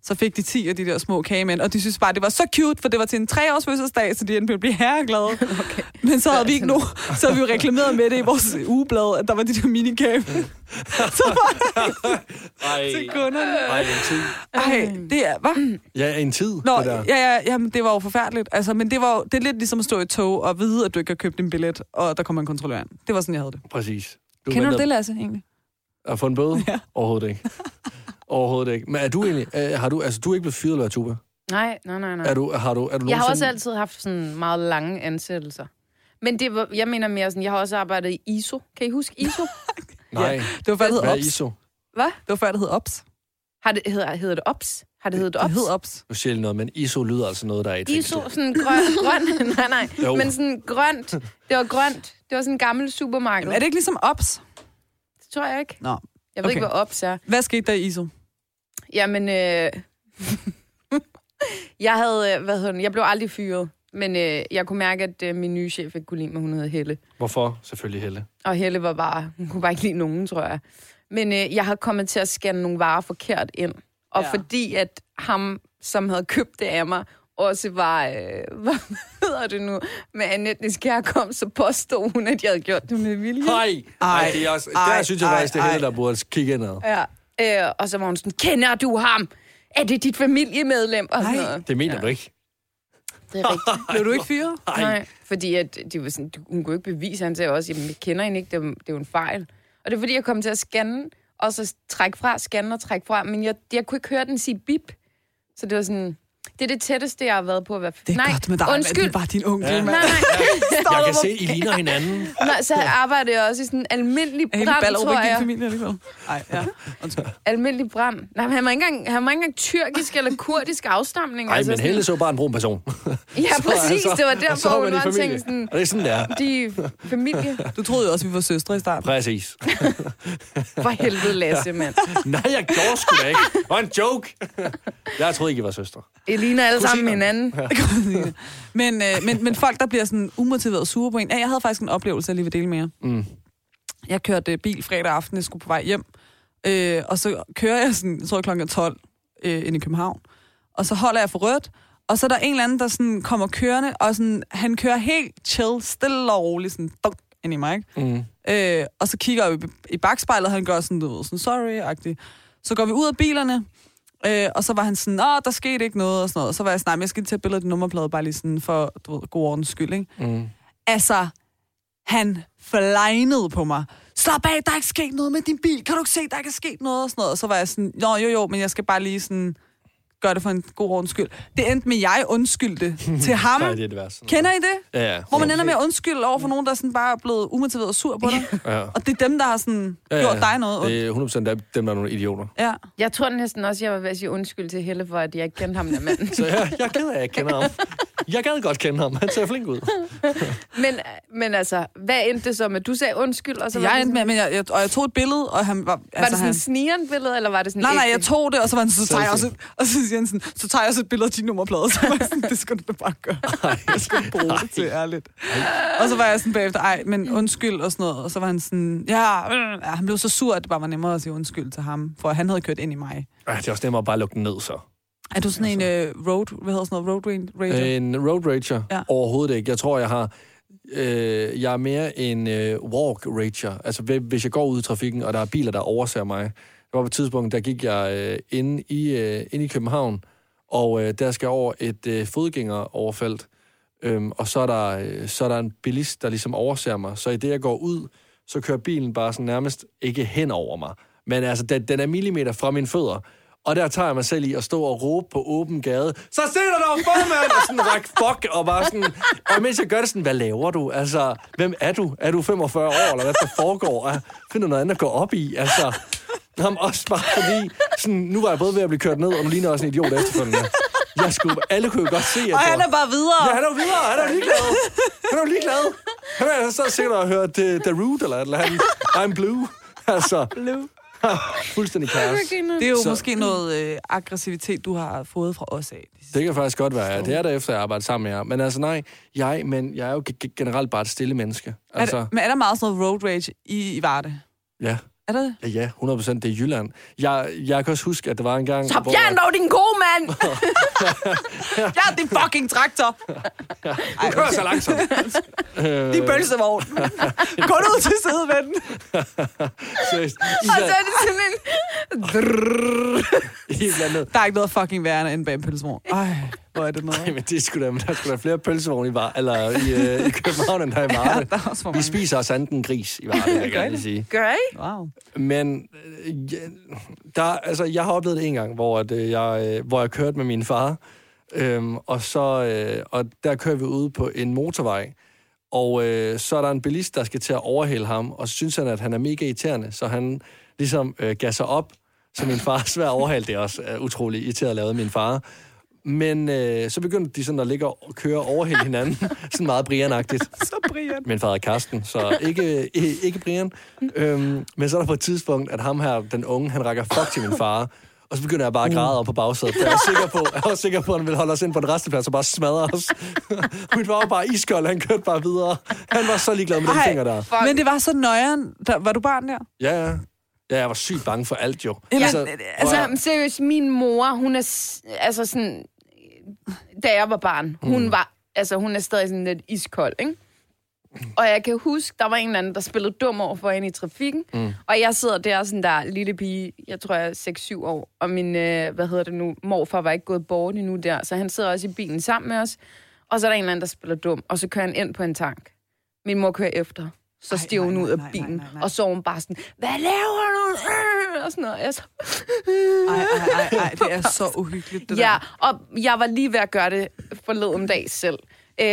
B: Så fik de 10 af de der små kagemænd, og de synes bare, det var så cute, for det var til en treårs fødselsdag, så de endte med at blive herreglade. Okay. Men så havde vi ikke nu, så havde vi jo reklameret med det i vores ugeblad, at der var de der minikagemænd. så var
D: Ej,
B: til kunderne.
D: ej, en tid.
B: Ej, det er, hvad?
D: Ja, en tid,
B: Nå,
D: det der.
B: ja, ja, jamen, det var jo forfærdeligt. Altså, men det var jo, det er lidt ligesom at stå i et tog og vide, at du ikke har købt en billet, og der kommer en kontrollør ind. Det var sådan, jeg havde det.
D: Præcis.
B: Du Kender du
D: venter-
B: det, Lasse, egentlig?
D: At få en bøde?
B: Ja.
D: Ja. Overhovedet ikke. Overhovedet ikke. Men er du egentlig, øh, har du, altså du er ikke blevet fyret eller tuba?
C: nej, nej, nej. nej.
D: Er du, har du, er du
C: Jeg har også
D: nogensinde-
C: altid haft sådan meget lange ansættelser. Men det var, jeg mener mere sådan, jeg har også arbejdet i ISO. Kan I huske ISO?
D: Nej.
B: Det var før, det hed
D: Hvad er
B: Ops.
D: ISO?
C: Hvad?
B: Det var før, det hed Ops.
C: Har det, hedder, hedder det OPS? Har det heddet OPS?
B: Det hed Ops.
D: Nu siger jeg lige noget, men ISO lyder altså noget, der er i et fængsel.
C: ISO, sådan grøn, grøn, nej, nej,
D: Jo.
C: men sådan grønt, det var grønt, det var sådan en gammel supermarked,
B: Jamen, er det ikke ligesom Ops?
C: det tror jeg ikke.
B: Nå.
C: Jeg ved
B: Okay.
C: ikke, hvad OPS er.
B: Hvad skete der i ISO?
C: Jamen, øh, jeg havde, øh, hvad hedder den, jeg blev aldrig fyret, men øh, jeg kunne mærke, at øh, min nye chef ikke kunne lide mig, hun hed Helle.
D: Hvorfor? Selvfølgelig Helle.
C: Og Helle var bare, hun kunne bare ikke lide nogen, tror jeg. Men øh, jeg havde kommet til at scanne nogle varer forkert ind. Og
B: Ja.
C: ja. fordi at ham, som havde købt det af mig, også var, øh, hvad hedder det nu, med anden etnisk herkomst, så påstod hun, at jeg havde gjort det med vilje.
D: Nej,
B: Ej,
D: nej, det er også,
B: ej,
D: der synes jeg
B: ej,
D: faktisk, det er Helle,
B: ej.
D: der burde kigge indad.
C: Ja. Øh, og så var hun sådan, kender du ham? Er det dit familiemedlem? Og sådan
B: Nej.
C: noget.
D: Det mener du ikke.
C: Det er rigtigt.
B: Blev du ikke fyret?
D: Ej.
C: Nej, fordi at de var sådan, du- hun kunne ikke bevise, han sagde også, jamen, jeg kender hende ikke, det er, det er jo en fejl. Og det er fordi, jeg kom til at scanne, og så trække fra, scanne og trække fra, men jeg, jeg kunne ikke høre den sige bip. Så det var sådan, Det er det tætteste, jeg har været på at være...
B: Det er
C: nej,
B: godt med dig, mand.
C: undskyld.
B: Det er bare din onkel,
D: Ja.
B: ja.
C: Nej,
B: mand.
C: nej.
D: Jeg kan se, I ligner hinanden.
C: nej. Så arbejder jeg også i sådan en almindelig
B: Hele
C: brand,
B: Ballerup er
C: tror
B: ikke din
C: jeg.
B: familie alligevel. Nej, ja. Undskyld.
C: Almindelig brand. Nej, men han var ikke engang, han var ikke engang tyrkisk eller kurdisk afstamning.
D: Nej,
C: altså
D: men
C: sådan-
D: Helle så bare en brun person.
C: Ja, præcis. Det var
D: Og
C: derfor,
D: så
C: hun
D: man i
C: var
D: familie.
C: tænkt sådan...
D: Og det er sådan, det er.
C: De er familie.
B: Du troede jo også, vi var søstre i starten.
D: Præcis.
C: For helvede, Lasse, mand.
D: Nej, jeg gjorde sgu da ikke. Det var en joke. Jeg troede ikke, I var søstre.
C: I ligner alle sammen
D: Kusiner.
C: hinanden.
B: men, øh, men, men folk, der bliver sådan umotiveret sure på en. Ja, jeg havde faktisk en oplevelse, jeg lige vil dele med jer.
D: Mm.
B: Jeg kørte øh, bil fredag aften, jeg skulle på vej hjem. Øh, og så kører jeg sådan, jeg tror klokken er 12 øh, ind i København. Og så holder jeg for rødt. Og så er der en eller anden, der sådan kommer kørende, og sådan, han kører helt chill, stille og roligt, sådan dunk ind i mig. Ikke?
D: Mm.
B: Øh, og så kigger jeg op i, i bagspejlet, og han gør sådan, du ved, sådan sorry-agtigt. Så går vi ud af bilerne, øh, og så var han sådan, åh, der skete ikke noget, og sådan noget. Og så var jeg sådan, nej, men jeg skal lige tage et billede af din nummerplade, bare lige sådan for du ved, god ordens skyld, ikke?
D: Mm.
B: Altså, han forlegnede på mig. Slap af, der er ikke sket noget med din bil. Kan du ikke se, der ikke er sket noget? Og, sådan noget. og så var jeg sådan, jo, jo, jo, men jeg skal bare lige sådan gøre det for en god ordens skyld. Det endte med, at jeg undskyldte til ham.
D: Nej, det er det værste.
B: Kender I det?
D: Ja, ja.
B: Hvor man ender med at undskylde over for nogen, der sådan bare er blevet umotiveret og sur på dig.
D: Ja.
B: Og det er dem, der har sådan
D: Ja, ja.
B: gjort dig noget ondt.
D: Det er 100% der, dem, der er nogle idioter.
B: Ja.
C: Jeg tror næsten også, jeg var ved at sige undskyld til Helle for, at jeg ikke kendte ham der mand.
D: Så jeg, jeg er ked af, at jeg ikke kender ham. Jeg gad godt kende ham. Han ser flink ud.
C: Men, men altså, hvad endte det så med? Du sagde undskyld, og så
B: Så
C: var
B: jeg
C: det
B: endte
C: sådan,
B: med, men jeg, jeg, og jeg tog et billede, og han var... altså,
C: var det sådan
B: han,
C: et snigeren billede, eller var det sådan
B: Nej, nej, jeg
C: ægte?
B: tog det, og så var han sådan, så tager jeg også
D: Selfie.
B: et, og så siger han sådan, så tager jeg også et billede af din nummerplade. Så var jeg sådan, det skal du da bare gøre. Jeg skal ikke bruge det til, ærligt. Og så var jeg sådan bagefter, ej, men undskyld og sådan noget. Og så var han sådan, ja, øh, ja, han blev så sur, at det bare var nemmere at sige undskyld til ham, for han havde kørt ind i mig.
D: Ej, det er også nemmere at bare lukke den ned, så.
B: Er du sådan en øh, road, hvad hedder sådan noget, road ra- rager? Øh,
D: En road rager?
B: Ja.
D: Ja. Overhovedet ikke. Jeg tror, jeg har... Øh, jeg er mere en øh, walk rager. Altså, hvi- hvis jeg går ud i trafikken, og der er biler, der overser mig. Det var på et tidspunkt, der gik jeg øh, inde, i, øh, inde i København, og øh, der skal jeg over et øh, fodgængeroverfelt. Øhm, og så er, der, øh, så er der en bilist, der ligesom overser mig. Så i det, jeg går ud, så kører bilen bare sådan nærmest ikke hen over mig. Men altså, den, den er millimeter fra mine fødder. Og der tager jeg mig selv i at stå og råbe på åben gade. Så se dig dog, formand! Og sådan række fuck, og bare sådan... Og mens jeg gør det sådan, hvad laver du? Altså, hvem er du? Er du 45 år, eller hvad der foregår? Og finder noget andet at gå op i, altså... Jamen, også bare fordi, sådan, nu var jeg både ved at blive kørt ned, og nu ligner jeg også en idiot efterfølgende. Jeg skulle, alle kunne jo godt se, at
B: og
D: det
B: han
D: var-
B: er bare videre.
D: Ja, han er jo videre, han er jo ligeglad. Han er jo ligeglad. Han er så sikkert og hørt uh, The Root eller et eller andet. I'm blue. Altså,
B: Blue. Oh
D: fuldstændig kaos.
B: Det er jo så...
D: Så-
B: måske noget øh, aggressivitet, du har fået fra os af.
D: Det kan faktisk godt være. ja. Det er der efter, jeg arbejder sammen med jer. Men altså nej, jeg, men jeg er jo ge- ge- generelt bare et stille menneske.
B: Altså...
D: Altså,
B: Er der, men er der meget sådan noget road rage i, i Varde?
D: ja.
B: Er der det?
D: Ja, Ja, 100% det er Jylland. Jeg, jeg kan også huske, at der var en gang...
C: Så fjern dog din gode mand!
B: Ja, det er fucking traktor. Ej,
D: Kør så langsomt. øh,
B: De pølsevogn. Gå nu ud til sidevennen.
D: seriøst.
C: og så er det sådan en...
D: I er blandt andet.
B: Der er ikke noget fucking værre end bag en pølsevogn. Ej, hvor er det noget.
D: Jamen, det skulle da, men der skulle da flere pølsevogne i, var, eller i, øh, i København, end der i
B: Ja,
D: Varde.
B: der er også for
D: Vi
B: mange.
D: spiser også andet end gris i Varde, vil jeg gerne lige sige.
C: Gør I?
B: Wow.
D: Men øh, ja, der, altså, jeg har oplevet det en gang, hvor, at, øh, jeg, øh, hvor jeg kørte med min far, øhm, og, så, øh, og der kører vi ude på en motorvej, og øh, så er der en bilist, der skal til at overhale ham, og så synes han, at han er mega irriterende, så han ligesom øh, gasser op, så min far er svær at overhale. Det er også øh, utrolig irriterende lavet af min far. Men øh, så begyndte de sådan at ligge og køre og overhale hinanden, sådan meget brianagtigt.
B: Så Brian.
D: Min far er Karsten, så ikke, i- ikke Brian. Øhm, men så er der på et tidspunkt, at ham her, den unge, han rækker fuck til min far. Og så begynder jeg
B: Mm.
D: bare at græde op på bagsædet. for Jeg er sikker på, jeg er også sikker på, at han vil holde os ind på en resteplads og bare smadre os. min far var bare iskold, han kørte bare videre. Han var så ligeglad med den
B: Ej.
D: finger der.
C: Fuck.
B: Men det var så nøjeren. Der, var du barn der?
D: Ja, ja. Ja, jeg var sygt bange for alt jo.
B: Jamen, øh,
C: Altså,
D: prøv at-
C: jamen, seriøst, min mor, hun er... s- Altså sådan... Da jeg var barn, hun var... Altså, hun er stadig sådan lidt iskold, ikke? Og jeg kan huske, der var en eller anden, der spillede dum over for hende i trafikken. Mm. Og jeg sidder der sådan der lille pige, jeg tror jeg er 6-7 år. Og min, øh, hvad hedder det nu, morfar var ikke gået bort endnu der. Så han sidder også i bilen sammen med os. Og så er der en eller anden, der spiller dum. Og så kører han ind på en tank. Min mor kører efter. så
B: Ej,
C: stiv
B: nej,
C: hun
B: nej,
C: ud af
B: nej, nej,
C: bilen.
B: nej, nej.
C: Og så var hun bare sådan, hvad laver du? Øh, Og sådan noget. Jeg så,
B: Ej, ej, ej, ej, det er så uhyggeligt, det
C: ja,
B: der.
C: og jeg var lige ved at gøre det forleden dag selv. Øh,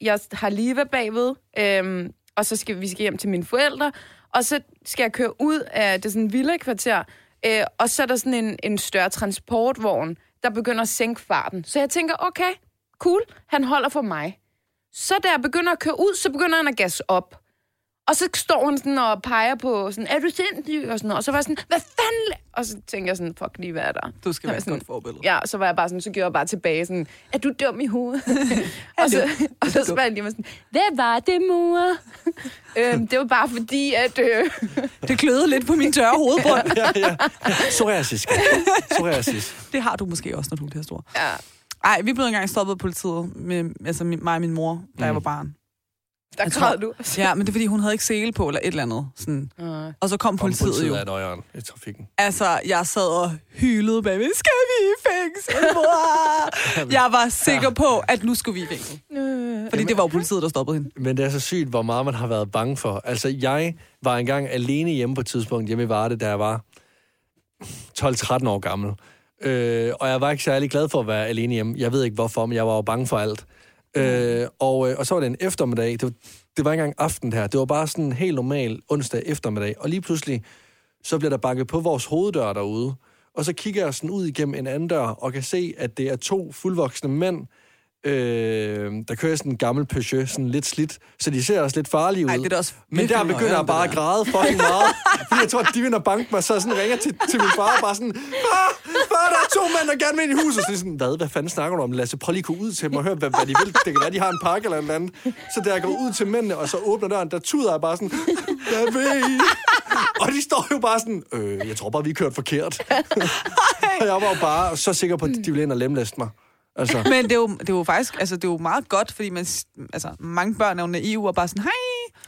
C: jeg har lige været bagved, øh, og så skal vi skal hjem til mine forældre, og så skal jeg køre ud af det er sådan en villa-kvarter, øh, og så er der sådan en, en større transportvogn, der begynder at sænke farten. Så jeg tænker, okay, cool, han holder for mig. Så da jeg begynder at køre ud, så begynder han at gasse op. Og så står hun sådan og peger på, sådan, er du sindssyg? Og, sådan, noget. og så var jeg sådan, hvad fanden? la-" Og så tænker jeg sådan, fuck lige, hvad er der?
B: Du skal
C: Så
B: være
C: var jeg
B: et
C: sådan,
B: godt forbillede.
C: Ja, så var jeg bare sådan, så gjorde jeg bare tilbage sådan, er du dum i hovedet? og så, og så spurgte jeg lige mig sådan, hvad var det, mor? øhm, det var bare fordi, at... Øh,
B: Det gløder lidt på min tørre hovedbund.
D: ja, ja. Psoriasis, skat. Psoriasis.
B: Det har du måske også, når du er det her stor.
C: ja.
B: Ej, vi blev engang stoppet af politiet, med, altså min, mig og min mor, da mm. jeg var barn.
C: Der
B: Jeg tror-
C: græd du.
B: Ja, men det er, fordi hun havde ikke sele på, eller et eller andet. Sådan.
C: Uh,
B: Og så kom
D: Politiet,
B: politiet,
D: politiet
B: jo.
D: er nøjeren i trafikken.
B: Altså, jeg sad og hylede bagved, skal vi i fængsel, mor? Jeg var sikker på, at nu skulle vi i fængsel.
C: Øh.
B: Fordi det var jo politiet, der stoppede hende.
D: Men det er så sygt, hvor meget man har været bange for. Altså, jeg var engang alene hjemme på et tidspunkt, hjemme i Varde, da jeg var 12-13 år gammel. Øh, og jeg var ikke særlig glad for at være alene hjemme. Jeg ved ikke hvorfor, men jeg var jo bange for alt. Øh, og, øh, og så var det en eftermiddag. Det var, det var ikke engang aften det her. Det var bare sådan en helt normal onsdag eftermiddag. Og lige pludselig, så bliver der banket på vores hoveddør derude. Og så kigger jeg sådan ud igennem en anden dør, og kan se, at det er to fuldvoksne mænd, øh, der kører sådan en gammel Peugeot, sådan lidt slidt, så de ser også lidt farlige ud.
B: Ej, det er da også
D: Men
B: virkelig
D: der begynder
B: nøjeren,
D: jeg bare
B: det
D: at
B: der.
D: græde fucking meget, fordi jeg tror, at de vinder banke mig, så jeg sådan ringer til, til min far og bare sådan, far, far, der er to mænd, der gerne vil ind i huset. Så de sådan, hvad, hvad fanden snakker du om? Lasse, prøv lige at gå ud til dem og høre, hvad, hvad de vil. Det kan være, de har en pakke eller et eller andet. Så da jeg går ud til mændene, og så åbner døren, der tuder jeg bare sådan, hvad vil I? Og de står jo bare sådan, øh, jeg tror bare, vi er kørt forkert. og jeg var jo bare så sikker på, at de ville ind og lemlæste mig. Altså.
B: Men det er, jo, det er jo faktisk, altså det er jo meget godt, fordi man, s- altså, mange børn er jo naive og bare sådan, hej,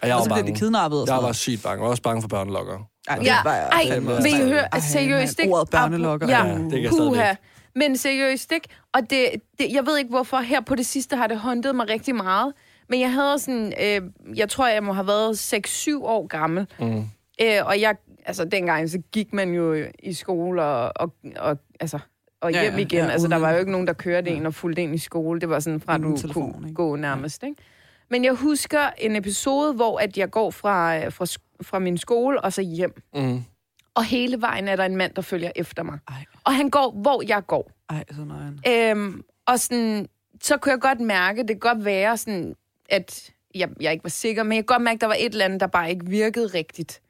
D: jeg
B: og
D: var
B: så bliver
D: bange.
B: de kidnappet og
D: Jeg
B: sådan
D: var
B: noget.
D: sygt bange, og også bange for børnelokkere.
B: Ej, det
C: Ja,
B: var jeg
C: ej,
B: fandme også.
C: vil I høre,
B: Ej,
C: altså, seriøst
B: mand,
C: ikke?
B: Ordet børnelokker.
C: Ja,
D: Ja, det kan jeg
C: puha.
D: stadigvæk.
C: Men seriøst ikke? Og det, det, jeg ved ikke, hvorfor her på det sidste har det håndtet mig rigtig meget. Men jeg havde sådan, øh, jeg tror, jeg må have været 6-7 år gammel. Mm. Øh, og jeg, altså dengang, så gik man jo i skole og, og, og altså, og
B: Ja,
C: hjem
B: ja,
C: igen.
B: ja,
C: altså, der
B: uden-
C: var jo ikke nogen, der kørte en og fulgte en i skole. Det var sådan fra,
B: Uden
C: du
B: telefon,
C: kunne
B: ikke?
C: gå nærmest, ikke? Men jeg husker en episode, hvor at jeg går fra, øh, fra, sk- fra min skole og så hjem.
D: Mm.
C: Og hele vejen er der en mand, der følger efter mig.
B: Ej,
C: Og han går, hvor jeg går.
B: ej, så nøjeren.
C: Øhm, og sådan, så kunne jeg godt mærke, det kan godt være, sådan, at jeg, jeg ikke var sikker, men jeg kunne godt mærke, at der var et eller andet, der bare ikke virkede rigtigt.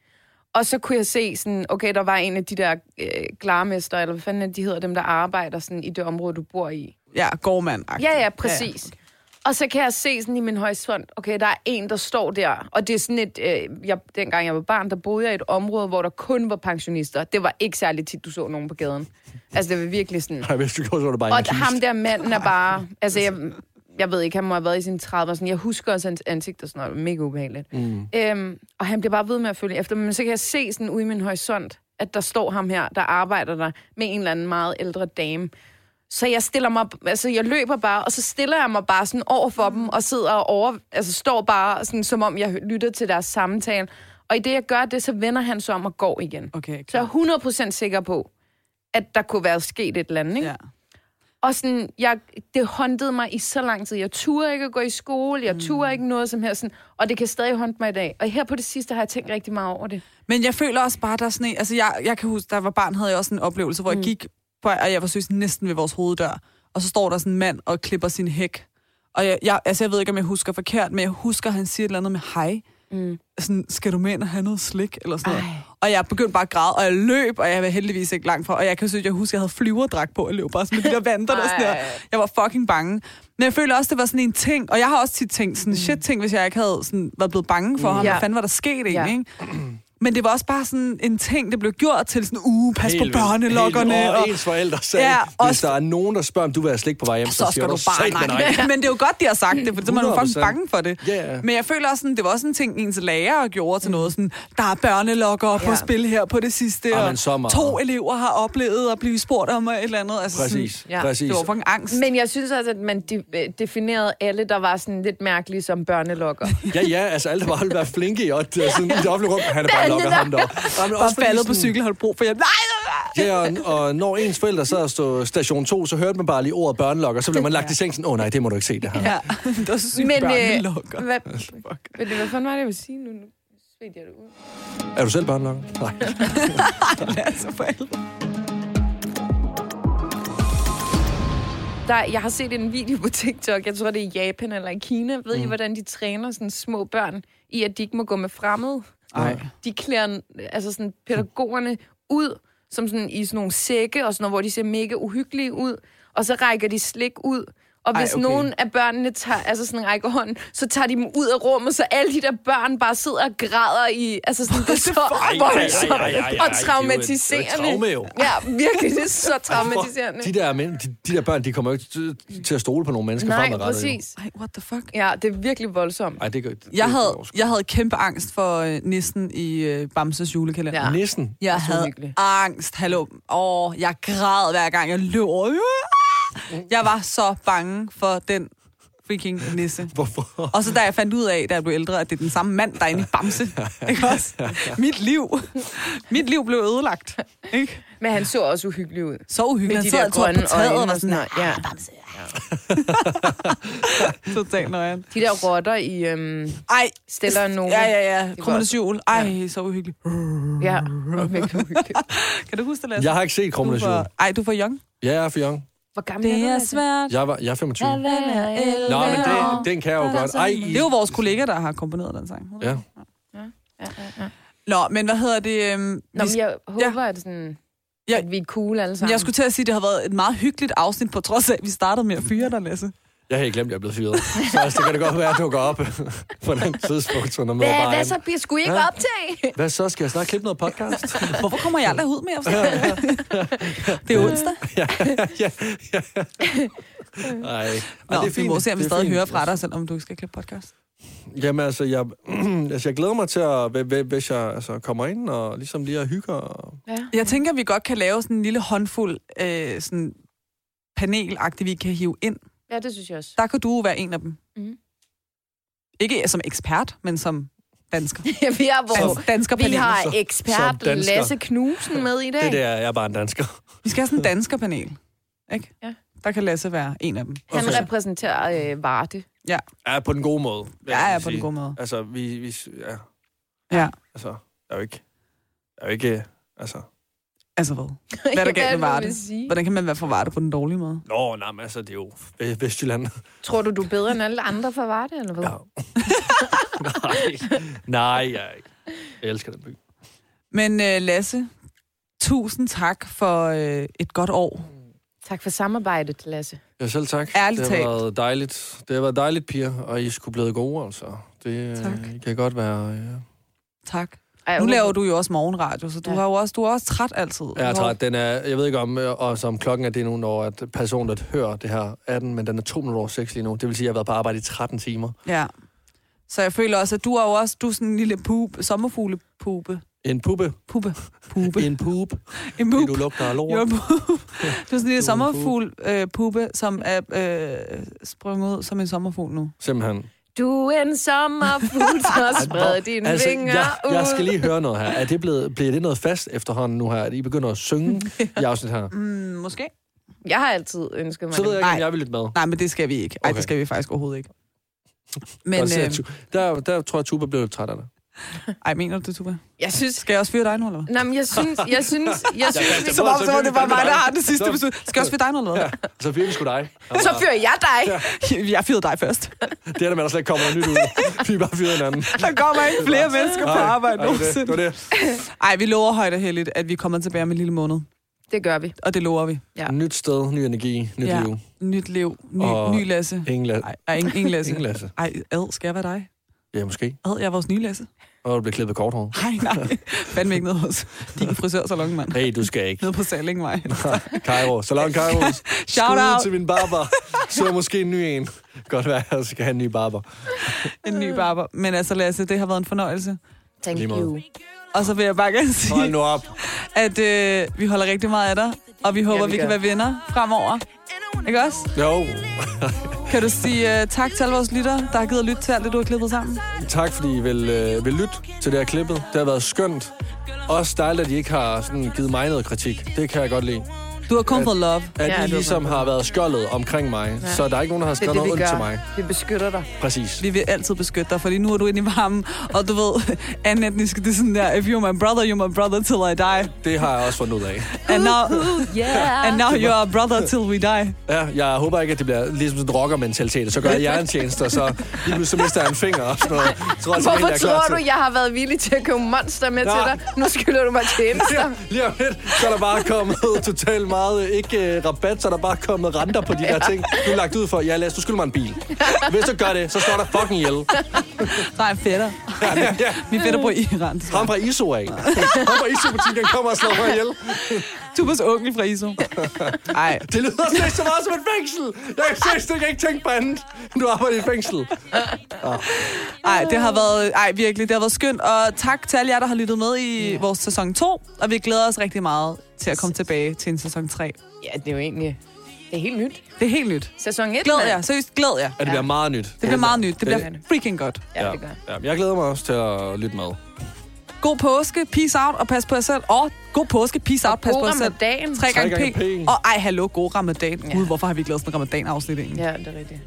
C: Og så kunne jeg se, sådan, okay, der var en af de der øh, glarmester, eller hvad fanden er det, de hedder, dem der arbejder sådan, i det område, du bor i.
B: Ja, gårdmand
C: Ja, ja, præcis. Ja, Og så kan jeg se sådan i min horisont, okay, der er en, der står der. Og det er sådan et, øh, jeg, dengang jeg var barn, der boede jeg i et område, hvor der kun var pensionister. Det var ikke særlig tit, du så nogen på gaden. Altså, det var virkelig sådan...
D: Nej, hvis du gjorde, så var det bare en
C: Og
D: kiste.
C: ham der manden er bare... Altså, jeg, jeg ved ikke, han må have været i sine 30'er. Sådan. Jeg husker også hans ansigt og sådan noget. Det var Mega ubehageligt. Mm. Øhm, og han bliver bare ved med at følge efter. Men så kan jeg se sådan ude i min horisont, at der står ham her, der arbejder der med en eller anden meget ældre dame. Så jeg stiller mig, altså jeg løber bare, og så stiller jeg mig bare sådan over for dem, og sidder og over, altså står bare sådan, som om jeg lytter til deres samtale. Og i det, jeg gør det, så vender han sig om og går igen.
B: Okay,
C: Så jeg
B: klar.
C: er 100% sikker på, at der kunne være sket et eller andet, ikke?
B: Ja.
C: Og sådan, jeg, det håndtede mig i så lang tid. Jeg turde ikke at gå i skole, jeg
E: Mm.
C: turde ikke noget som helst, sådan, og det kan stadig håndte mig i dag. Og her på det sidste har jeg tænkt rigtig meget over det.
B: Men jeg føler også bare, der er sådan en, altså jeg, jeg kan huske, da jeg var barn, havde jeg også en oplevelse, hvor mm. jeg gik, på, og jeg var søs næsten ved vores hoveddør, og så står der sådan en mand og klipper sin hæk. Og jeg, jeg, altså jeg ved ikke, om jeg husker forkert, men jeg husker, han siger et eller andet med hej. Mm. Sådan, skal du med ind og have noget slik? Eller sådan noget. Og jeg begyndte bare at græde, og jeg løb, og jeg var heldigvis ikke langt fra. Og jeg kan synes, jeg husker, jeg havde flyverdragt på, og løb bare sådan med de der vanter der. Sådan der.
C: Ej.
B: Jeg var fucking bange. Men jeg føler også, det var sådan en ting, og jeg har også tit tænkt sådan, shit ting, hvis jeg ikke havde sådan, været blevet bange for ham.
C: Mm. Ja.
B: Hvad fanden var der sket egentlig?
C: Ja.
B: Ikke? Men det var også bare sådan en ting, der blev gjort til sådan, uh, pas
D: Helt
B: på
D: vildt. Helt,
B: børnelokkerne.
D: vildt.
B: Og,
D: og ens forældre sagde,
B: Ja,
D: ja, hvis
B: også-
D: der er nogen, der spørger, om du vil have slik på vej hjem,
B: så
D: så,
B: skal
D: siger
B: du
D: du
B: bare
D: nej. nej.
B: nej. Men det er jo godt, de har sagt det, for så er man jo fucking
D: 100%.
B: bange for det.
D: Ja, ja.
B: Men jeg føler også, sådan, det var også en ting, ens lærer gjorde til noget sådan, der er børnelokker ja. på
E: Ja.
B: spil her på det sidste,
D: Ej,
B: og
D: men så meget.
B: to elever har oplevet at blive spurgt om et eller andet. Altså,
D: Præcis,
B: Sådan,
E: Ja,
D: ja, præcis.
B: det var fucking angst. Men,
E: Men jeg synes også, at man de, øh, definerede alle, der var sådan lidt mærkelige som børnelokker.
D: Ja, ja, altså alle der bare ville være flinke i, og sådan, i det offentlige rum, han er bare lokker ham der. Og, men
B: bare
D: også fordi
B: faldet på
D: sådan-
B: cykel, holdt brug for hjælp. Nej,
D: Ja, og, og når ens forældre sad og stod station 2, så hørte man bare lige ordet børnelokker, så blev man lagt i sengen sådan, åh oh, nej, det må du ikke se det her.
B: Ja, det var så sygt
E: Men, øh,
B: børnelokker.
E: Hvad,
C: Ved du, hvad fanden var det, jeg ville sige nu? Nu svedt jeg det ud.
D: Er du selv børnelokker? Nej.
B: altså, forældre.
C: Der, jeg har set en video på TikTok, jeg tror, det er i Japan eller i Kina. Ved mm. I, hvordan de træner sådan små børn i, at de ikke må gå med fremmede?
B: Ej.
C: De klæder altså sådan, pædagogerne ud som sådan, i sådan nogle sække, og sådan noget, hvor de ser mega uhyggelige ud, og så rækker de slik ud. Og
B: Ej,
C: hvis Ej,
B: okay.
C: okay. nogen af børnene tager, altså sådan rækker hånden, så tager de dem ud af rummet, så alle de der børn bare sidder og græder i... Altså sådan, det er så voldsomt og traumatiserende.
D: Traume jo.
C: Ja, virkelig, det er så traumatiserende.
D: De der, men, de, de der børn, de kommer jo ikke til- til at stole på nogle mennesker
C: Nej,
D: fremadrettet. jo.
C: præcis.
B: Ej, what the fuck?
C: Ja, det er virkelig voldsomt.
D: Ej, det gør det,
B: Jeg havde,
D: det, det,
B: jeg havde kæmpe angst for øh, nissen i øh, Bamses julekalender.
C: Ja.
D: Næsten.
B: Jeg
C: så
B: havde
C: uhyggelig.
B: angst. Hallo. Åh, jeg græd hver gang, jeg løb. over. Jeg var så bange for den freaking nisse.
D: Hvorfor?
B: Og så da jeg fandt ud af, da jeg blev ældre, at det er den samme mand, der er inde i Bamse. Ikke også? Mit liv. Mit liv blev ødelagt. Ikke?
C: Men han så også uhyggelig ud.
B: Så uhyggeligt. Han
C: de
B: sad
C: der
B: og tog
C: grønne
B: på taget og
C: øjne
B: var
C: og
B: sådan,
C: sådan noget, ja.
B: "Ah, Bamse. ja." Totalt nøjeren.
C: De der rotter i øhm,
B: Ej.
C: Stella og Nova.
B: Ja, ja, ja.
C: godt.
B: Krummernes jul. Ej, så uhyggeligt.
C: ja. det var virkelig uhyggeligt.
B: Kan du huske det, Lasse?
D: Jeg har ikke set
B: du
D: Krumlernes jul.
B: var, Ej, du var young.
D: Ja, jeg er for young.
C: Hvor gammel
B: Det er
C: Lasse?
B: svært.
D: Jeg, var, jeg er 25. Nå, men det, den kan jeg jo godt. Ej, I...
B: altså, Det er jo vores kollega, der har komponeret den sang.
D: Ja.
C: Ja, ja, ja.
B: Nå, men hvad hedder det? Øhm,
C: Nå,
B: vi,
C: men jeg håber, at, sådan,
B: Ja.
C: at vi er cool alle sammen.
B: jeg skulle til at sige, at det har været et meget hyggeligt afsnit, på trods af, at vi startede med at fyre dig, Lasse.
D: Jeg har helt glemt, at jeg er blevet fyret. Så altså, det kan det godt være, at du går op på den tidspunkt, så når man
C: Hvad,
D: bare
C: hvad
D: er-
C: så? Bliver skulle I ikke
D: Ja.
C: optage?
D: Hvad så? Skal jeg snart klippe noget podcast?
B: Hvorfor kommer jeg aldrig ud med? det er onsdag.
D: Nej.
B: Nå, det er fint. vi må se, om vi stadig hører fra dig, selvom du ikke skal klippe podcast.
D: Jamen altså, jeg, altså, jeg glæder mig til, at, hv- hv- hvis jeg altså, kommer ind og ligesom lige og hygger. Og...
B: Jeg tænker, at vi godt kan lave sådan en lille håndfuld øh, sådan panelagtig, vi kan hive ind.
C: Ja, det synes jeg også.
B: Der kan du jo være en af dem.
C: Mhm.
B: Ikke som ekspert, men som dansker.
C: vi har,
B: Altså,
C: vores,
B: danskerpanel.
C: vi har
D: Som- som
C: ekspert
D: dansker.
C: Lasse Knudsen med i dag.
D: Det der, jeg er bare en dansker.
B: Vi skal have sådan en danskerpanel. Ikke?
C: Ja.
B: Der kan Lasse være en af dem.
C: Han
D: Okay.
C: repræsenterer øh, Varde.
D: Ja, på den gode måde. vil
B: Jeg er
D: sige.
B: på den gode måde.
D: Altså, vi... vi ja,
B: Ja.
D: altså, jeg er jo ikke... Jeg er jo ikke... Altså,
B: Altså hvad? Hvad er der galt med
C: Hvad er det, du
B: Varde?
C: vil sige?
B: Hvordan kan man være for Varde på den dårlige måde?
D: nå, nej, men altså, det er jo Ve- Vestjylland.
C: Tror du, du er bedre end alle andre fra Varde, eller hvad?
D: Ja. nej, nej, jeg er ikke. Jeg elsker den by.
B: Men uh, Lasse, tusind tak for uh, et godt år.
C: Tak for samarbejdet, Lasse.
D: Ja, selv tak.
B: Ærligt
D: det har
B: talt.
D: været dejligt. Det har været dejligt, piger, og I skulle blive gode, altså. Det øh,
B: Tak.
D: I kan godt være... Ja.
B: Tak.
C: Ej, jeg
B: Nu laver
C: håber-
B: du jo også morgenradio, så du,
C: Ja.
B: har jo også, du er også træt altid.
D: Jeg er træt. Den er, jeg ved ikke om, øh, og som klokken er det nu, når at personen, der hører det her, er den, men den er to minutter over seks lige nu. Det vil sige, at jeg har været på arbejde i 13 timer.
B: Ja. Så jeg føler også, at du er jo også du er sådan en lille pup, sommerfuglepupe.
D: En puppe.
B: Puppe. Pupe.
D: En pup.
B: En
D: Fordi
B: pup.
D: du lugter af
B: Jo,
D: lort.
B: pup. Du er sådan en lille
D: Du er en pup.
B: sommerfuglpuppe, som er øh, sprunget ud som en sommerfugl nu.
D: Simpelthen.
C: Du er en sommerfugl, så spred dine altså, vinger
D: jeg,
C: ud.
D: jeg skal lige høre noget her. Er det blevet, bliver det noget fast efterhånden nu her, at I begynder at synge i afsnit her?
B: Mm, måske.
C: jeg har altid ønsket mig
D: Så ved jeg
B: Nej.
D: ikke, om jeg vil lidt med.
B: Nej, men det skal vi ikke. Nej, okay.
D: Okay.
B: det skal vi faktisk overhovedet ikke. Men,
D: Men, øh...
B: øh,
D: der, der tror jeg, Tuba blev lidt træt af det.
B: ej, mener du det, Tuba?
C: det. Jeg synes...
B: Skal jeg også fyre dig nu, eller hvad?
C: Nå, men jeg synes... Jeg synes... Jeg synes
D: kan-
C: vi-
D: Som om, så var det bare mig, der har
B: den
D: sidste
B: besøg. Skal jeg også fyre dig nu, eller hvad?
D: Så fyrer vi Altså, sgu dig.
C: så fører jeg dig.
B: Ja. Jeg fyrede dig først.
D: Det er der, man der slet ikke kommer noget nyt ud. Vi er bare fyret hinanden.
B: Der kommer ikke flere mennesker på
D: Nej,
B: arbejde
D: nej, det var det. Det
B: nogensinde.
D: var det.
B: Ej, vi lover højt og heldigt, at vi kommer tilbage om en lille måned.
C: Det gør vi.
B: Og det lover vi.
C: Ja.
D: Nyt sted, ny energi, nyt
B: Ja.
D: liv.
B: Nyt liv. Ny,
D: Og-
B: ny Lasse.
D: Ingen, la-
B: Ej, ej, ingen, ingen Lasse.
D: ingen Lasse.
B: Ej, ad, skal jeg være dig?
D: Ja, måske.
B: Ad, jeg er vores nye læse.
D: Og du bliver klippet kort hår.
B: Nej, nej. Fandme ikke nede hos din frisørsalon, mand.
D: Hey, du skal ikke.
B: Nede på Sallingvej.
D: Cairo. Salon Cairo.
B: Shout
D: Skud
B: out.
D: til min barber. Så måske en ny en. Godt være, jeg skal have en ny barber.
B: En ny barber. Men altså, Lasse, det har været en fornøjelse.
E: Thank
D: Lige meget.
E: you.
B: Og så vil jeg bare gerne
D: Hold
B: sige,
D: nu op.
B: at øh, vi holder rigtig meget af dig. Og vi håber,
E: Ja,
B: vi,
E: vi
B: kan
E: gør.
B: være venner fremover. Ikke også?
D: Jo,
B: Kan du sige uh, tak til alle vores lyttere, der har givet at lytte til alt det, du har klippet sammen?
D: tak fordi I vil, øh, vil lytte til det her klippet. Det har været skønt. Også dejligt, at I ikke har sådan givet mig noget kritik. Det kan jeg godt lide.
B: Du har kun
D: Ja.
B: fået love.
D: At
E: Ja,
D: ja, I
E: det var
D: ligesom
E: meget
D: har været skjoldet omkring mig, ja. så der er ikke nogen, der har
E: Det er
D: skrevet
E: det,
D: noget
E: vi
D: ondt til mig.
E: gør. Vi beskytter dig.
D: Præcis.
B: Vi vil altid beskytte dig, fordi nu er du inde i varmen. Og du ved, anden etnisk, det er sådan der, if you're my brother, you're my brother till I die.
D: Det har jeg også fundet ud af.
B: And now,
E: Yeah.
B: and now you're our brother till we die.
D: Ja, jeg håber ikke, at det bliver ligesom sådan en rockermentalitet. Så gør jeg jer en tjeneste, og så lige pludselig så mister jeg en finger og sådan noget. Jeg Tror, altså,
E: Hvorfor
D: jeg er klar
E: tror
D: til-
E: du, jeg har været villig til at købe monster med til
D: Nej.
E: dig? Nu skylder du mig tjenester.
D: Lige om lidt, så er der bare kommet totalt meget, øh, ikke øh, rabat, så er der bare kommet renter på de der ting. Du er lagt ud for, ja Lasse, du skylder mig en bil. Hvis du gør det, så står der fucking ihjel.
B: Nej, fætter.
D: Ja,
B: Vi fætter på Iran.
D: Ham fra ISO af. Ham fra ISO-butikken kommer og slår mig ihjel.
B: Tubers onkel fra ISO. Nej,
D: Det lyder slet ikke så meget som et fængsel. Jeg kan seriøst ikke ikke tænke på andet, end du arbejder i et fængsel.
B: Ej, det har været, ej, virkelig, det har været skønt. Og tak til alle jer, der har lyttet med i yeah. vores sæson 2. Og vi glæder os rigtig meget til at komme tilbage til en sæson 3.
E: Ja, det er jo egentlig... Det er helt nyt.
B: Det er helt nyt.
E: Sæson 1.
B: Glæd jer, seriøst, glæd jer.
D: Ja, det bliver meget nyt.
B: Det bliver meget nyt. Det bliver
E: Det-
B: freaking godt.
E: Ja, det gør.
D: Ja, men jeg glæder mig også til at lytte med.
B: God påske, peace out og pas på jer selv. Og god påske, peace out, pas
E: God
B: på jer selv.
E: ramadan.
B: Tre gange
D: gange
B: p.
D: P.
B: Og ej, hallo, god ramadan.
E: Ja.
B: Gud, hvorfor har vi ikke lavet sådan en ramadan-afsnit egentlig?
E: Ja, det er rigtigt.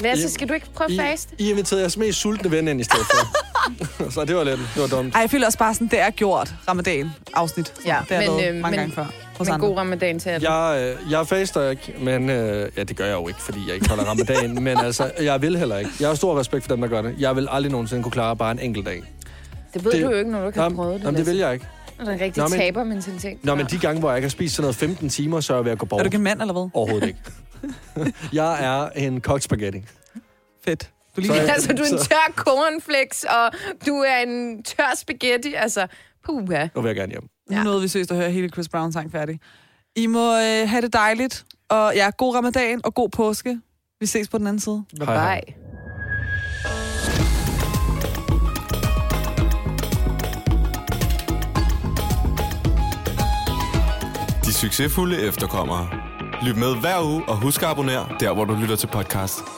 E: Lasse, skal du ikke prøve
D: I,
E: at faste?
D: I inviterede jeres mest sultne ven ind i stedet for. så det var lidt, det var dumt.
B: Ej, jeg føler også bare sådan, det er gjort ramadan-afsnit.
E: Ja,
B: det har
E: men,
B: men, lavet
E: øh,
B: mange
E: men-
B: gange før. Hos
E: Men
B: andre.
E: god ramadan til alle.
D: Jeg, øh, jeg faster ikke, men... Øh, ja, det gør jeg jo ikke, fordi jeg ikke holder ramadan. men altså, jeg vil heller ikke. Jeg har stor respekt for dem, der gør det. Jeg vil aldrig nogensinde kunne klare bare en enkelt dag.
E: Det ved
D: det-
E: du jo ikke, når du ikke har
D: Jamen,
E: prøvet det.
D: jamen, det vil jeg ikke.
E: Lasse. Det er en rigtig
D: Nå, men-
E: tabermentalitet.
D: Nå, men de gange, hvor jeg ikke har spist sådan noget 15 timer, så er jeg ved at gå
B: Er
D: bort.
B: du ikke en mand eller hvad?
D: Overhovedet ikke. jeg er en kokspaghetti.
B: Fedt. Du
D: Så er
B: lige...
D: jeg-
E: Altså, du er en
D: Så-
E: tør cornflakes, og du er en tør spaghetti. Altså, puha.
D: Nu vil jeg gerne hjem.
B: Nu nåede vi seriøst at høre hele Chris Brown sang færdig. I må øh, have det dejligt, og ja, god ramadan og god påske. Vi ses på den anden side.
E: Bye.
D: Hej, hej.
E: Bye.
A: De succesfulde efterkommere. Lyt med hver uge og husk at abonnere der, hvor du lytter til podcast.